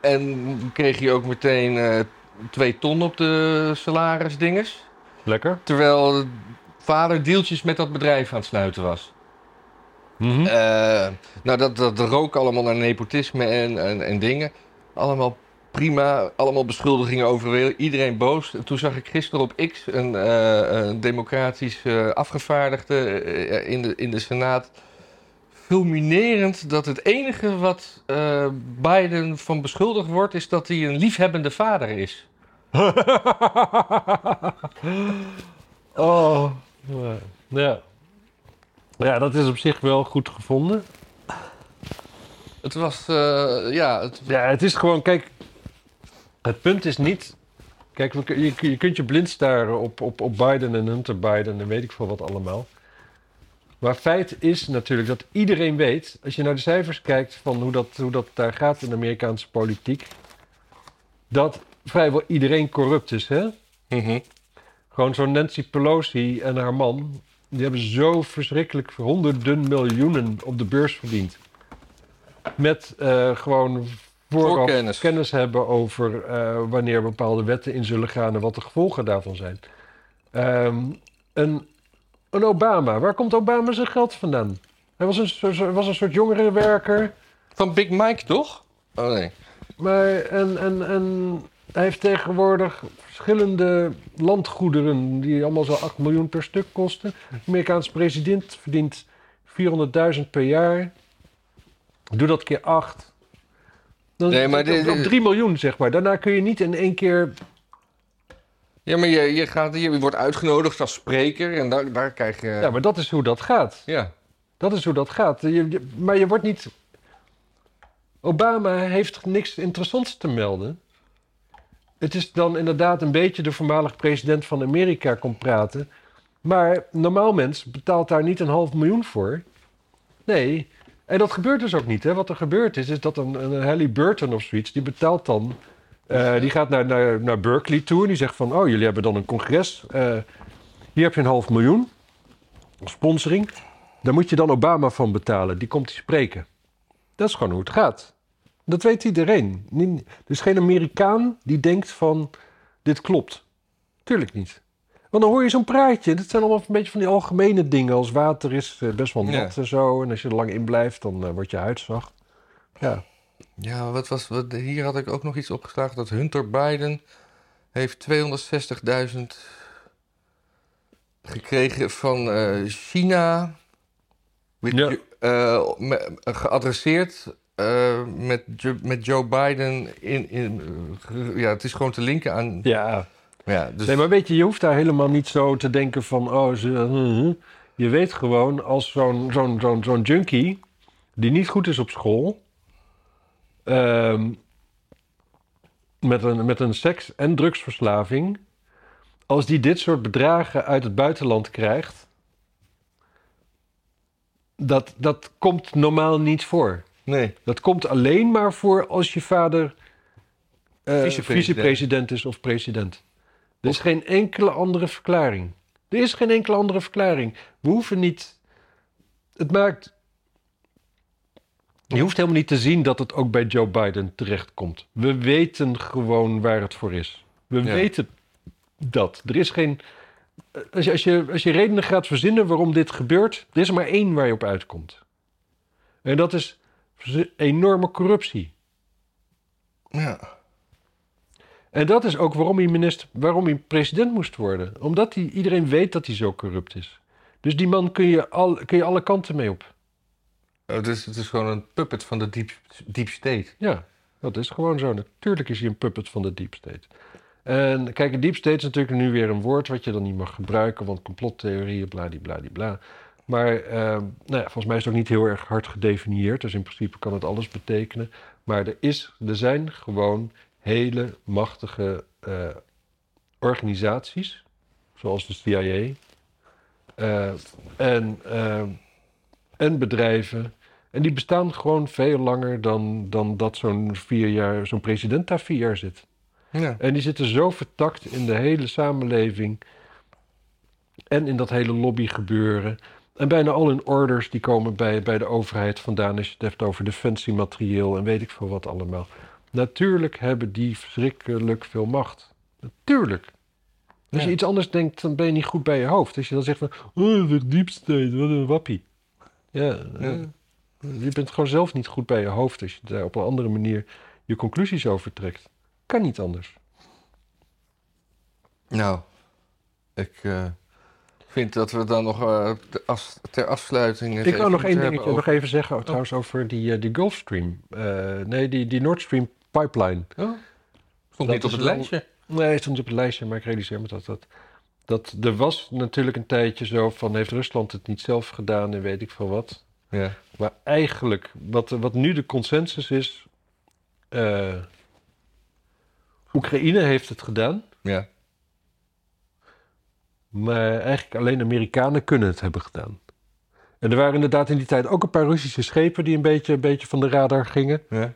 Speaker 2: En kreeg hij ook meteen eh, twee ton op de salarisdinges.
Speaker 1: Lekker.
Speaker 2: Terwijl vader deeltjes met dat bedrijf aan het sluiten was.
Speaker 1: Mhm.
Speaker 2: Eh, nou, dat, dat rook allemaal naar nepotisme en, en, en dingen. Allemaal prima, allemaal beschuldigingen over iedereen boos. En Toen zag ik gisteren op X een, eh, een democratisch eh, afgevaardigde eh, in, de, in de Senaat. Fulminerend dat het enige wat eh, Biden van beschuldigd wordt, is dat hij een liefhebbende vader is.
Speaker 1: oh, ja. ja. Ja, dat is op zich wel goed gevonden.
Speaker 2: Het was, eh, ja, het,
Speaker 1: Ja, het is gewoon, kijk, het punt is niet. Kijk, we kun- je, je kunt je blind staren op, op, op Biden en Hunter Biden en weet ik veel wat allemaal. Maar feit is natuurlijk dat iedereen weet, als je naar de cijfers kijkt van hoe dat, hoe dat daar gaat in de Amerikaanse politiek, dat vrijwel iedereen corrupt is. Hè? Gewoon zo'n Nancy Pelosi en haar man, die hebben zo verschrikkelijk honderden miljoenen op de beurs verdiend. Met eh, gewoon vooraf
Speaker 2: Voorkennis.
Speaker 1: kennis hebben over eh, wanneer bepaalde wetten in zullen gaan en wat de gevolgen daarvan zijn. Ehm, een, een Obama, waar komt Obama zijn geld vandaan? Hij was een, soort- was een soort jongerenwerker,
Speaker 2: van Big Mike toch? Oh nee.
Speaker 1: maar en, en, en hij heeft tegenwoordig verschillende landgoederen die allemaal zo'n 8 miljoen per stuk kosten. De Amerikaanse president verdient 400.000 per jaar. Doe dat keer 8. Dan
Speaker 2: Nee, maar
Speaker 1: zit je op-
Speaker 2: dit-
Speaker 1: op 3 miljoen, zeg maar. Daarna kun je niet in één keer...
Speaker 2: Ja, maar je, je, gaat, je wordt uitgenodigd als spreker en daar, daar krijg je...
Speaker 1: Ja, maar dat is hoe dat gaat.
Speaker 2: ja.
Speaker 1: Dat is hoe dat gaat. Je- je- maar je wordt niet. Obama heeft niks interessants te melden. Het is dan inderdaad een beetje de voormalig president van Amerika komt praten. Maar normaal mens betaalt daar niet een half miljoen voor. Nee. En dat gebeurt dus ook niet. Hè. Wat er gebeurd is, is dat een, een Halle Burton of zoiets, die betaalt dan. eh, die gaat naar, naar, naar Berkeley toe en die zegt van... oh, jullie hebben dan een congres. eh, hier heb je een half miljoen. Sponsoring. Daar moet je dan Obama van betalen. Die komt die spreken. Dat is gewoon hoe het gaat. Dat weet iedereen. Niet- Er is geen Amerikaan die denkt van... dit klopt. Tuurlijk niet. Want dan hoor je zo'n praatje. Dat zijn allemaal een beetje van die algemene dingen. Als water is eh, best wel nat
Speaker 2: Ja.
Speaker 1: en zo. En als je er lang in blijft, dan eh, wordt je huid zacht. Ja.
Speaker 2: Ja, wat was, wat, hier had ik ook nog iets opgeslagen dat Hunter Biden heeft 260.000 gekregen van eh, China. With
Speaker 1: Ja.
Speaker 2: Jo- eh, me- geadresseerd eh, met, Jo- met Joe Biden. In, in, eh, ge- ja, het is gewoon te linken aan...
Speaker 1: Ja.
Speaker 2: Ja, dus,
Speaker 1: Nee, maar weet je, je hoeft daar helemaal niet zo te denken van... Oh, ze, je weet gewoon, als zo'n zo'n zo'n zo'n junkie... die niet goed is op school... ehm, met, een, met een seks- en drugsverslaving... als die dit soort bedragen uit het buitenland krijgt... dat, dat komt normaal niet voor.
Speaker 2: nee.
Speaker 1: Dat komt alleen maar voor als je vader eh,
Speaker 2: Vicepresident.
Speaker 1: vicepresident is of president. Er is geen enkele andere verklaring. Er is geen enkele andere verklaring. We hoeven niet. Het maakt. Je hoeft helemaal niet te zien dat het ook bij Joe Biden terechtkomt. We weten gewoon waar het voor is. We
Speaker 2: Ja.
Speaker 1: weten dat. Er is geen. Als je, als, je, als je redenen gaat verzinnen waarom dit gebeurt, er is er maar één waar je op uitkomt. En dat is verzi- enorme corruptie.
Speaker 2: Ja.
Speaker 1: En dat is ook waarom hij, minister, waarom hij president moest worden. Omdat hij, iedereen weet dat hij zo corrupt is. Dus die man kun je, al, kun je alle kanten mee op.
Speaker 2: Oh, het, is, het is gewoon een puppet van de deep, deep state.
Speaker 1: Ja, dat is gewoon zo. Natuurlijk is hij een puppet van de deep state. En kijk, deep state is natuurlijk nu weer een woord wat je dan niet mag gebruiken, want complottheorieën, bladibladibla. Maar eh, nou ja, volgens mij is het ook niet heel erg hard gedefinieerd, dus in principe kan het alles betekenen. Maar er, is, er zijn gewoon hele machtige eh, organisaties, zoals de CIA, eh, en, eh, en bedrijven en die bestaan gewoon veel langer dan, dan dat zo'n vier jaar, zo'n president daar vier jaar zit.
Speaker 2: Ja.
Speaker 1: En die zitten zo vertakt in de hele samenleving en in dat hele lobbygebeuren. En bijna al hun orders die komen bij, bij de overheid vandaan als je het hebt over defensiematerieel en weet ik veel wat allemaal. Natuurlijk hebben die verschrikkelijk veel macht. Natuurlijk. Als
Speaker 2: Ja.
Speaker 1: je iets anders denkt, dan ben je niet goed bij je hoofd. Als je dan zegt van, oh, de deep state, wat een wappie. Ja, eh, Je bent gewoon zelf niet goed bij je hoofd als je daar op een andere manier je conclusies over trekt. Kan niet anders.
Speaker 2: Nou, ik eh, vind dat we dan nog eh, te as- ter afsluiting. het
Speaker 1: Ik
Speaker 2: even
Speaker 1: wou nog één
Speaker 2: moeten
Speaker 1: dingetje nog
Speaker 2: hebben
Speaker 1: even zeggen oh, trouwens over die, eh, die Gulfstream. Eh, nee, die, die Nord Stream pipeline.
Speaker 2: over- Oh, Stond
Speaker 1: Dat
Speaker 2: niet op
Speaker 1: is
Speaker 2: het
Speaker 1: wel-
Speaker 2: lijstje.
Speaker 1: Nee, het stond niet op het lijstje, maar ik realiseer me dat dat... Dat er was natuurlijk een tijdje zo van... heeft Rusland het niet zelf gedaan en weet ik veel wat.
Speaker 2: Ja.
Speaker 1: Maar eigenlijk, wat, wat nu de consensus is. eh, Oekraïne heeft het gedaan.
Speaker 2: ja.
Speaker 1: Maar eigenlijk alleen Amerikanen kunnen het hebben gedaan. En er waren inderdaad in die tijd ook een paar Russische schepen die een beetje, een beetje van de radar gingen.
Speaker 2: ja.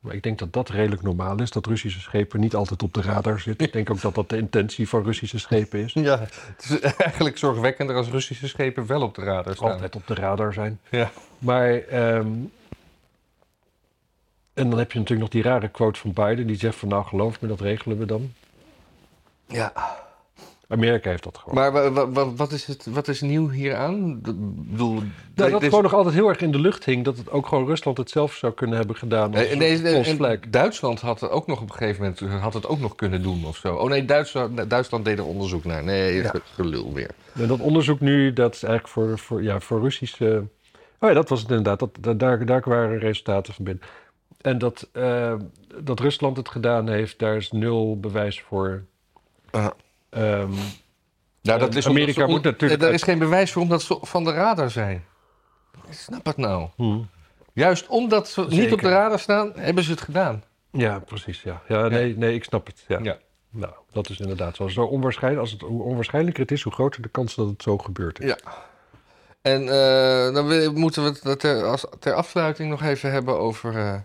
Speaker 1: Maar ik denk dat dat redelijk normaal is, dat Russische schepen niet altijd op de radar zitten. Ik denk ook dat dat de intentie van Russische schepen is.
Speaker 2: Ja, het is eigenlijk zorgwekkender als Russische schepen wel op de radar staan.
Speaker 1: Altijd op de radar zijn.
Speaker 2: Ja.
Speaker 1: Maar, ehm, en dan heb je natuurlijk nog die rare quote van Biden, die zegt van nou geloof me, dat regelen we dan.
Speaker 2: ja.
Speaker 1: Amerika heeft dat gewoon.
Speaker 2: Maar wa- wa- wa- wat, is het, wat is nieuw hieraan? D- bedoel,
Speaker 1: nou,
Speaker 2: dit
Speaker 1: dat
Speaker 2: is-
Speaker 1: gewoon nog altijd heel erg in de lucht hing. Dat het ook gewoon Rusland het zelf zou kunnen hebben gedaan.
Speaker 2: Nee,
Speaker 1: Als
Speaker 2: en
Speaker 1: nee,
Speaker 2: deze- en Duitsland had het ook nog op een gegeven moment had het ook nog kunnen doen of zo. Oh nee, Duitsland, Duitsland deed er onderzoek naar. Nee,
Speaker 1: Ja.
Speaker 2: ge- gelul weer.
Speaker 1: En dat onderzoek nu, dat is eigenlijk voor, voor, ja, voor Russische... Oh ja, dat was het inderdaad. Dat, dat- daar, daar waren resultaten van binnen. En dat, eh, dat Rusland het gedaan heeft, daar is nul bewijs voor.
Speaker 2: Ja.
Speaker 1: Ehm,
Speaker 2: Nou,
Speaker 1: Eh,
Speaker 2: omdat
Speaker 1: Amerika
Speaker 2: ze on-
Speaker 1: moet natuurlijk-
Speaker 2: Daar is geen bewijs voor omdat ze van de radar zijn. Ik snap het nou.
Speaker 1: Hmm.
Speaker 2: Juist omdat ze niet
Speaker 1: Zeker.
Speaker 2: op de radar staan, hebben ze het gedaan.
Speaker 1: Ja, precies. Ja. Ja, nee, nee, ik snap het. Ja.
Speaker 2: Ja.
Speaker 1: Nou, dat is inderdaad zo. zo onwaarschijnlijk, als het, hoe onwaarschijnlijker het is, hoe groter de kans dat het zo gebeurt.
Speaker 2: Ja. En eh, dan wil- moeten we het dat ter, als, ter afsluiting nog even hebben over, eh,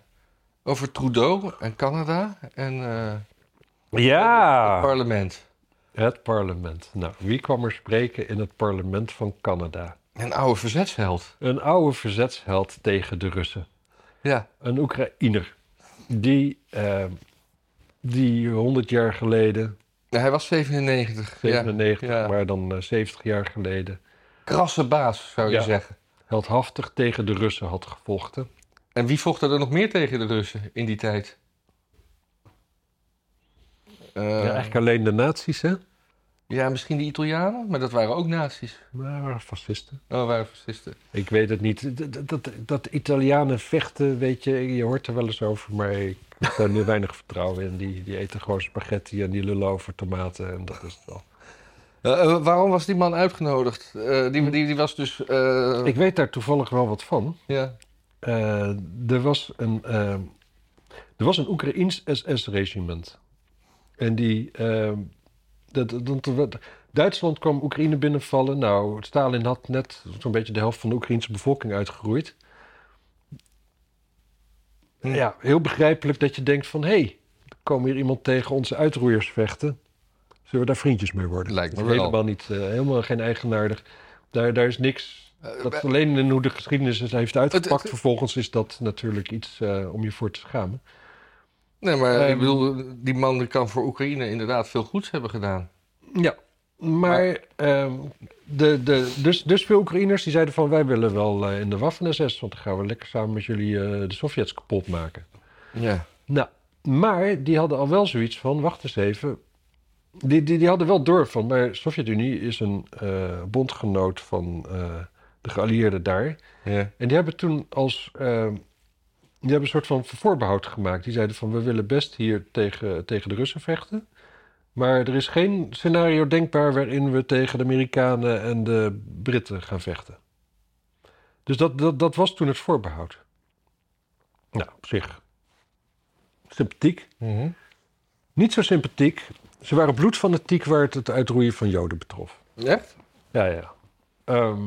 Speaker 2: over Trudeau en Canada en eh, het
Speaker 1: Ja!
Speaker 2: parlement.
Speaker 1: Het parlement. Nou, wie kwam er spreken in het parlement van Canada?
Speaker 2: Een oude verzetsheld.
Speaker 1: Een oude verzetsheld tegen de Russen.
Speaker 2: Ja.
Speaker 1: Een Oekraïner. Die, eh, die 100 jaar geleden,
Speaker 2: Ja, Hij was 97. Ja.
Speaker 1: 97,
Speaker 2: ja.
Speaker 1: maar dan eh, 70 jaar geleden,
Speaker 2: Krasse baas, zou je
Speaker 1: Ja.
Speaker 2: zeggen.
Speaker 1: heldhaftig tegen de Russen had gevochten.
Speaker 2: En wie vocht er nog meer tegen de Russen in die tijd? Eh,
Speaker 1: Ja,
Speaker 2: ja,
Speaker 1: eigenlijk alleen de nazi's, hè?
Speaker 2: misschien de Italianen, maar dat waren ook nazi's.
Speaker 1: Maar dat waren fascisten.
Speaker 2: Oh, waren fascisten.
Speaker 1: Ik weet het niet. Dat, dat- dat, dat Italianen vechten, weet je, je hoort er wel eens over, maar ik heb daar nu weinig vertrouwen in. Die, die eten gewoon spaghetti en die lullen over tomaten en dat is het wel.
Speaker 2: Eh, eh, waarom was die man uitgenodigd? Eh, die, die, die was dus. eh,
Speaker 1: Ik weet daar toevallig wel wat van.
Speaker 2: ja.
Speaker 1: Eh, er, was een, eh, er was een Oekraïns SS-regiment. En die. eh, dat, dat, dat- Duitsland kwam Oekraïne binnenvallen. Nou, Stalin had net zo'n beetje de helft van de Oekraïnse bevolking uitgeroeid.
Speaker 2: Hm.
Speaker 1: Ja, heel begrijpelijk dat je denkt van... hé, hey, er komen hier iemand tegen onze uitroeiers vechten. Zullen we daar vriendjes mee worden?
Speaker 2: Lijkt me
Speaker 1: Dat is
Speaker 2: wel.
Speaker 1: Helemaal, niet, eh, helemaal geen eigenaardig. Daar, daar is niks
Speaker 2: Eh,
Speaker 1: dat is alleen in hoe de geschiedenis het heeft uitgepakt.
Speaker 2: Het- het-
Speaker 1: Vervolgens is dat natuurlijk iets eh, om je voor te schamen.
Speaker 2: Nee, maar ik
Speaker 1: Ehm,
Speaker 2: bedoel, die man kan voor Oekraïne inderdaad veel goeds hebben gedaan.
Speaker 1: Ja, maar ehm, de, de, dus, dus veel Oekraïners die zeiden van wij willen wel eh, in de Waffen-SS... want dan gaan we lekker samen met jullie eh, de Sovjets kapot maken.
Speaker 2: Ja.
Speaker 1: Nou, maar die hadden al wel zoiets van, wacht eens even... Die, die, die hadden wel door van, maar de Sovjet-Unie is een eh, bondgenoot van eh, de geallieerden daar...
Speaker 2: ja.
Speaker 1: En die hebben toen als. ehm, die hebben een soort van voorbehoud gemaakt. Die zeiden van we willen best hier tegen, tegen de Russen vechten. Maar er is geen scenario denkbaar waarin we tegen de Amerikanen en de Britten gaan vechten. Dus dat, dat, dat was toen het voorbehoud. Nou, op zich. Sympathiek.
Speaker 2: Mhm.
Speaker 1: Niet zo sympathiek. Ze waren bloedfanatiek waar het het uitroeien van Joden betrof.
Speaker 2: Echt?
Speaker 1: Ja, ja. Ehm,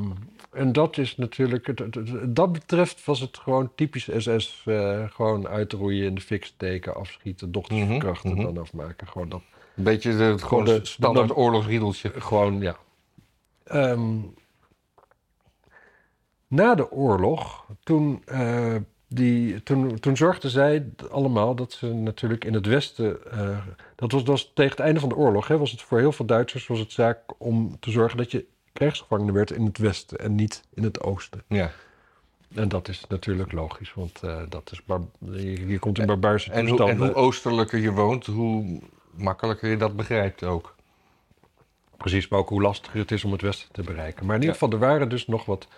Speaker 1: en dat is natuurlijk, het, het- het- dat betreft was het gewoon typisch SS. eh, gewoon uitroeien, in de fik steken, afschieten, dochters
Speaker 2: Mhm,
Speaker 1: verkrachten,
Speaker 2: mhm.
Speaker 1: dan afmaken. Gewoon dat.
Speaker 2: Een beetje de, gewoon
Speaker 1: de-
Speaker 2: een standaard oorlogsriedeltje.
Speaker 1: Gewoon, ja. Ehm, na de oorlog, toen, eh, die, toen, toen zorgden zij allemaal dat ze natuurlijk in het Westen. eh, dat, was, dat was tegen het einde van de oorlog. Hè, was het voor heel veel Duitsers was het zaak om te zorgen dat je krijgsgevangene werd in het westen en niet in het oosten.
Speaker 2: Ja.
Speaker 1: En dat is natuurlijk logisch, want eh, dat is bar- je, je komt in barbaarse
Speaker 2: En, hoe, en
Speaker 1: toestanden.
Speaker 2: hoe oosterlijker je woont, hoe makkelijker je dat begrijpt ook.
Speaker 1: Precies, maar ook hoe lastiger het is om het Westen te bereiken. Maar in ieder
Speaker 2: Ja.
Speaker 1: geval, er waren dus nog wat.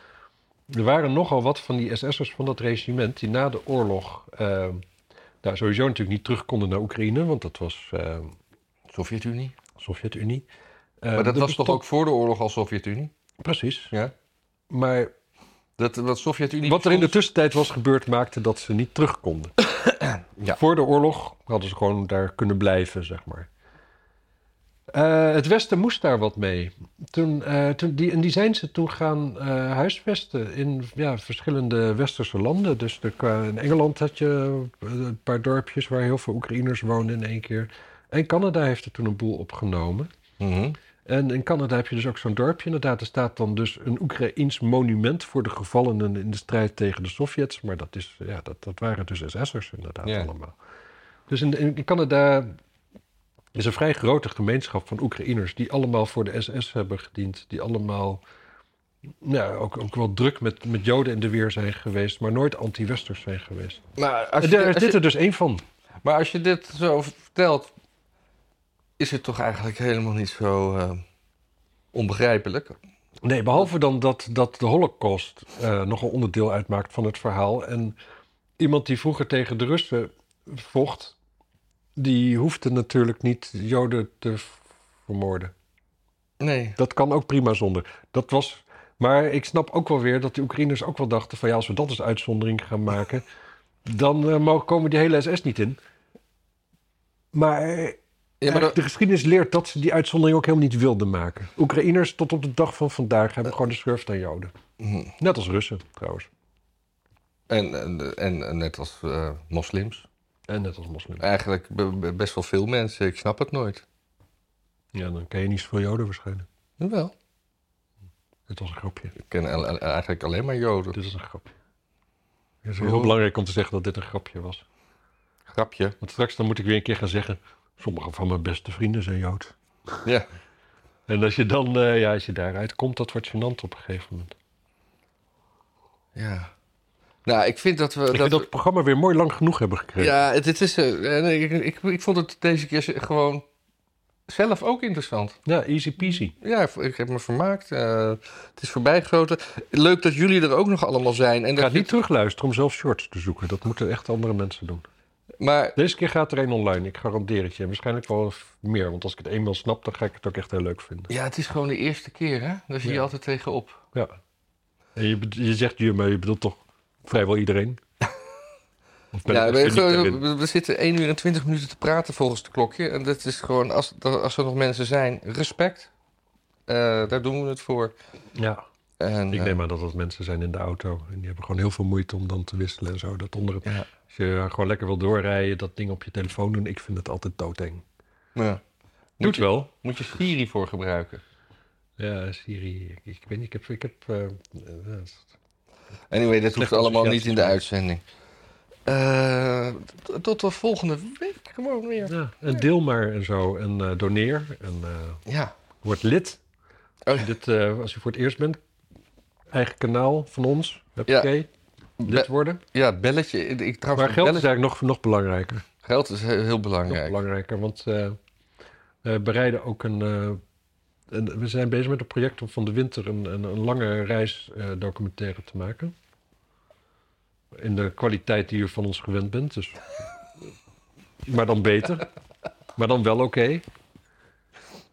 Speaker 1: Er waren nogal wat van die SS'ers van dat regiment die na de oorlog. eh, nou, sowieso natuurlijk niet terug konden naar Oekraïne, want dat was eh,
Speaker 2: Sovjet-Unie.
Speaker 1: Sovjet-Unie. Eh,
Speaker 2: maar dat
Speaker 1: er
Speaker 2: was toch
Speaker 1: bestond-
Speaker 2: ook voor de oorlog al Sovjet-Unie?
Speaker 1: Precies.
Speaker 2: Ja.
Speaker 1: Maar
Speaker 2: Dat, dat Sovjet-Unie
Speaker 1: wat er in de
Speaker 2: bestond-
Speaker 1: tussentijd was gebeurd, maakte dat ze niet terug konden.
Speaker 2: Ja.
Speaker 1: Voor de oorlog hadden ze gewoon daar kunnen blijven, zeg maar. Eh, het Westen moest daar wat mee. Toen, eh, toen die, en die zijn ze toen gaan eh, huisvesten in ja, verschillende westerse landen. Dus er kwa- in Engeland had je eh, een paar dorpjes waar heel veel Oekraïners woonden in één keer. En Canada heeft er toen een boel opgenomen.
Speaker 2: Mhm.
Speaker 1: En in Canada heb je dus ook zo'n dorpje. Inderdaad, er staat dan dus een Oekraïns monument voor de gevallenen in de strijd tegen de Sovjets. Maar dat, is, ja, dat, dat waren dus SS'ers inderdaad
Speaker 2: Ja.
Speaker 1: allemaal. Dus in, in Canada is een vrij grote gemeenschap van Oekraïners die allemaal voor de SS hebben gediend. Die allemaal nou, ook, ook wel druk met, met Joden in de weer zijn geweest, maar nooit anti-Westers zijn geweest.
Speaker 2: Maar als
Speaker 1: En
Speaker 2: je-
Speaker 1: daar is
Speaker 2: als je-
Speaker 1: dit er dus één van.
Speaker 2: Maar als je dit zo vertelt, is het toch eigenlijk helemaal niet zo eh, onbegrijpelijk.
Speaker 1: Nee, behalve dan dat, dat de Holocaust eh, nogal onderdeel uitmaakt van het verhaal. En iemand die vroeger tegen de Russen vocht, die hoefde natuurlijk niet Joden te v- vermoorden.
Speaker 2: Nee.
Speaker 1: Dat kan ook prima zonder. Dat was. Maar ik snap ook wel weer dat de Oekraïners ook wel dachten: van ja, als we dat als uitzondering gaan maken, dan eh, mogen- komen die hele SS niet in. Maar eh,
Speaker 2: Ja, maar dat-
Speaker 1: de geschiedenis leert dat ze die uitzondering ook helemaal niet wilden maken. Oekraïners tot op de dag van vandaag hebben gewoon de schurft aan Joden.
Speaker 2: Mhm.
Speaker 1: Net als Russen trouwens.
Speaker 2: en, en, en, en net als eh, moslims.
Speaker 1: En net als moslims.
Speaker 2: Eigenlijk be- be- best wel veel mensen, ik snap het nooit.
Speaker 1: Ja, dan ken je niet zoveel Joden waarschijnlijk.
Speaker 2: Jawel.
Speaker 1: Dit was een grapje.
Speaker 2: Ik ken al- al- eigenlijk alleen maar Joden.
Speaker 1: Dit is een grapje. Het is heel belangrijk om te zeggen dat dit een grapje was.
Speaker 2: Grapje.
Speaker 1: Want straks dan moet ik weer een keer gaan zeggen... sommige van mijn beste vrienden zijn Jood.
Speaker 2: Ja.
Speaker 1: En als je dan, eh, ja, als je daaruit komt, dat wordt gênant op een gegeven moment.
Speaker 2: Ja. Nou, ik vind dat we...
Speaker 1: Ik vind dat het programma weer mooi lang genoeg hebben gekregen.
Speaker 2: Ja, dit is... eh, en ik, ik, ik vond het deze keer gewoon zelf ook interessant.
Speaker 1: Ja, easy peasy.
Speaker 2: Ja, ik heb me vermaakt. eh, het is voorbijgeschoten. Leuk dat jullie er ook nog allemaal zijn. En
Speaker 1: Ga
Speaker 2: dat
Speaker 1: niet terugluisteren om zelf shorts te zoeken. Dat moeten echt andere mensen doen.
Speaker 2: Maar
Speaker 1: Deze keer gaat er één online, ik garandeer het je. En waarschijnlijk wel f- meer, want als ik het eenmaal snap, dan ga ik het ook echt heel leuk vinden.
Speaker 2: ja, het is gewoon de eerste keer, hè? Daar zie je
Speaker 1: Ja.
Speaker 2: altijd tegenop.
Speaker 1: Ja. En je, bed- je zegt je, maar je bedoelt toch vrijwel iedereen? Of ben
Speaker 2: Ja,
Speaker 1: ik
Speaker 2: we,
Speaker 1: echt cyniek daarin?
Speaker 2: we- we zitten 1 uur en 20 minuten te praten volgens het klokje. En dat is gewoon, als, dat- als er nog mensen zijn, respect. Eh, daar doen we het voor.
Speaker 1: Ja,
Speaker 2: En,
Speaker 1: ik
Speaker 2: eh,
Speaker 1: neem aan dat dat mensen zijn in de auto. En die hebben gewoon heel veel moeite om dan te wisselen en zo. Dat onder het,
Speaker 2: Ja.
Speaker 1: Als je gewoon lekker wil doorrijden, dat ding op je telefoon doen. Ik vind het altijd doodeng.
Speaker 2: ja.
Speaker 1: Doet
Speaker 2: Moet, je,
Speaker 1: wel.
Speaker 2: moet je Siri voor gebruiken.
Speaker 1: Ja, Siri, ik, ik weet niet, ik heb... Ik heb eh, eh,
Speaker 2: Anyway, dat hoeft
Speaker 1: Slechte
Speaker 2: allemaal niet in de
Speaker 1: associaties.
Speaker 2: uitzending. Eh, t- tot de volgende week gewoon weer.
Speaker 1: ja, en deel maar en zo. En eh, doneer. En eh,
Speaker 2: Ja.
Speaker 1: word lid.
Speaker 2: Oh,
Speaker 1: Als je Dit, eh, als je voor het eerst bent, eigen kanaal van ons. Heb
Speaker 2: Ja.
Speaker 1: Lid worden.
Speaker 2: Ja, belletje. Ik, trouwens,
Speaker 1: Maar geld is
Speaker 2: belletje-
Speaker 1: eigenlijk nog, nog belangrijker.
Speaker 2: geld is heel, heel
Speaker 1: Nog
Speaker 2: belangrijk.
Speaker 1: belangrijker, want eh, we bereiden ook een, eh, een- We zijn bezig met een project om van de winter een, een, een lange reisdocumentaire documentaire te maken. In de kwaliteit die u van ons gewend bent. Dus. maar dan beter. Maar dan wel oké.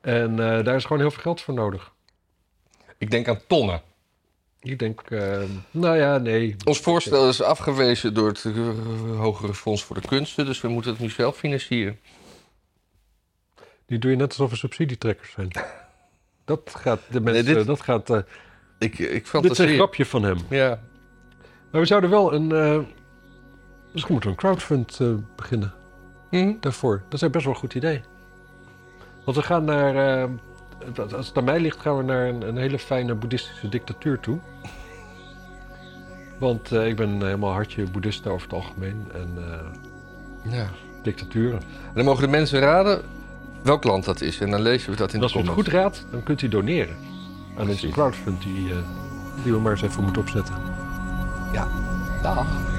Speaker 1: En eh, daar is gewoon heel veel geld voor nodig.
Speaker 2: Ik denk aan tonnen.
Speaker 1: Ik denk, eh, nou ja, nee.
Speaker 2: Ons voorstel is afgewezen door het eh, Hogere Fonds voor de Kunsten, dus we moeten het nu zelf financieren.
Speaker 1: Die doe je net alsof we subsidietrekkers zijn. Dat gaat de mensen.
Speaker 2: dit-
Speaker 1: dat gaat, eh,
Speaker 2: Ik, ik
Speaker 1: dit is een
Speaker 2: fantaseer.
Speaker 1: grapje van hem.
Speaker 2: Ja,
Speaker 1: Maar we zouden wel een. eh, misschien moeten we een crowdfund eh, beginnen
Speaker 2: Hm?
Speaker 1: daarvoor. Dat is best wel een goed idee. Want we gaan naar. eh, als als het aan mij ligt, gaan we naar een, een hele fijne boeddhistische dictatuur toe. Want eh, ik ben helemaal hartje boeddhist over het algemeen. En eh,
Speaker 2: ja.
Speaker 1: dictaturen.
Speaker 2: En dan mogen de mensen raden welk land dat is en dan lezen we dat in
Speaker 1: En
Speaker 2: de
Speaker 1: als u het
Speaker 2: comments.
Speaker 1: goed raadt, dan kunt u doneren. En dat is een
Speaker 2: Precies.
Speaker 1: crowdfund die, eh, die we maar eens even moeten opzetten.
Speaker 3: Dag.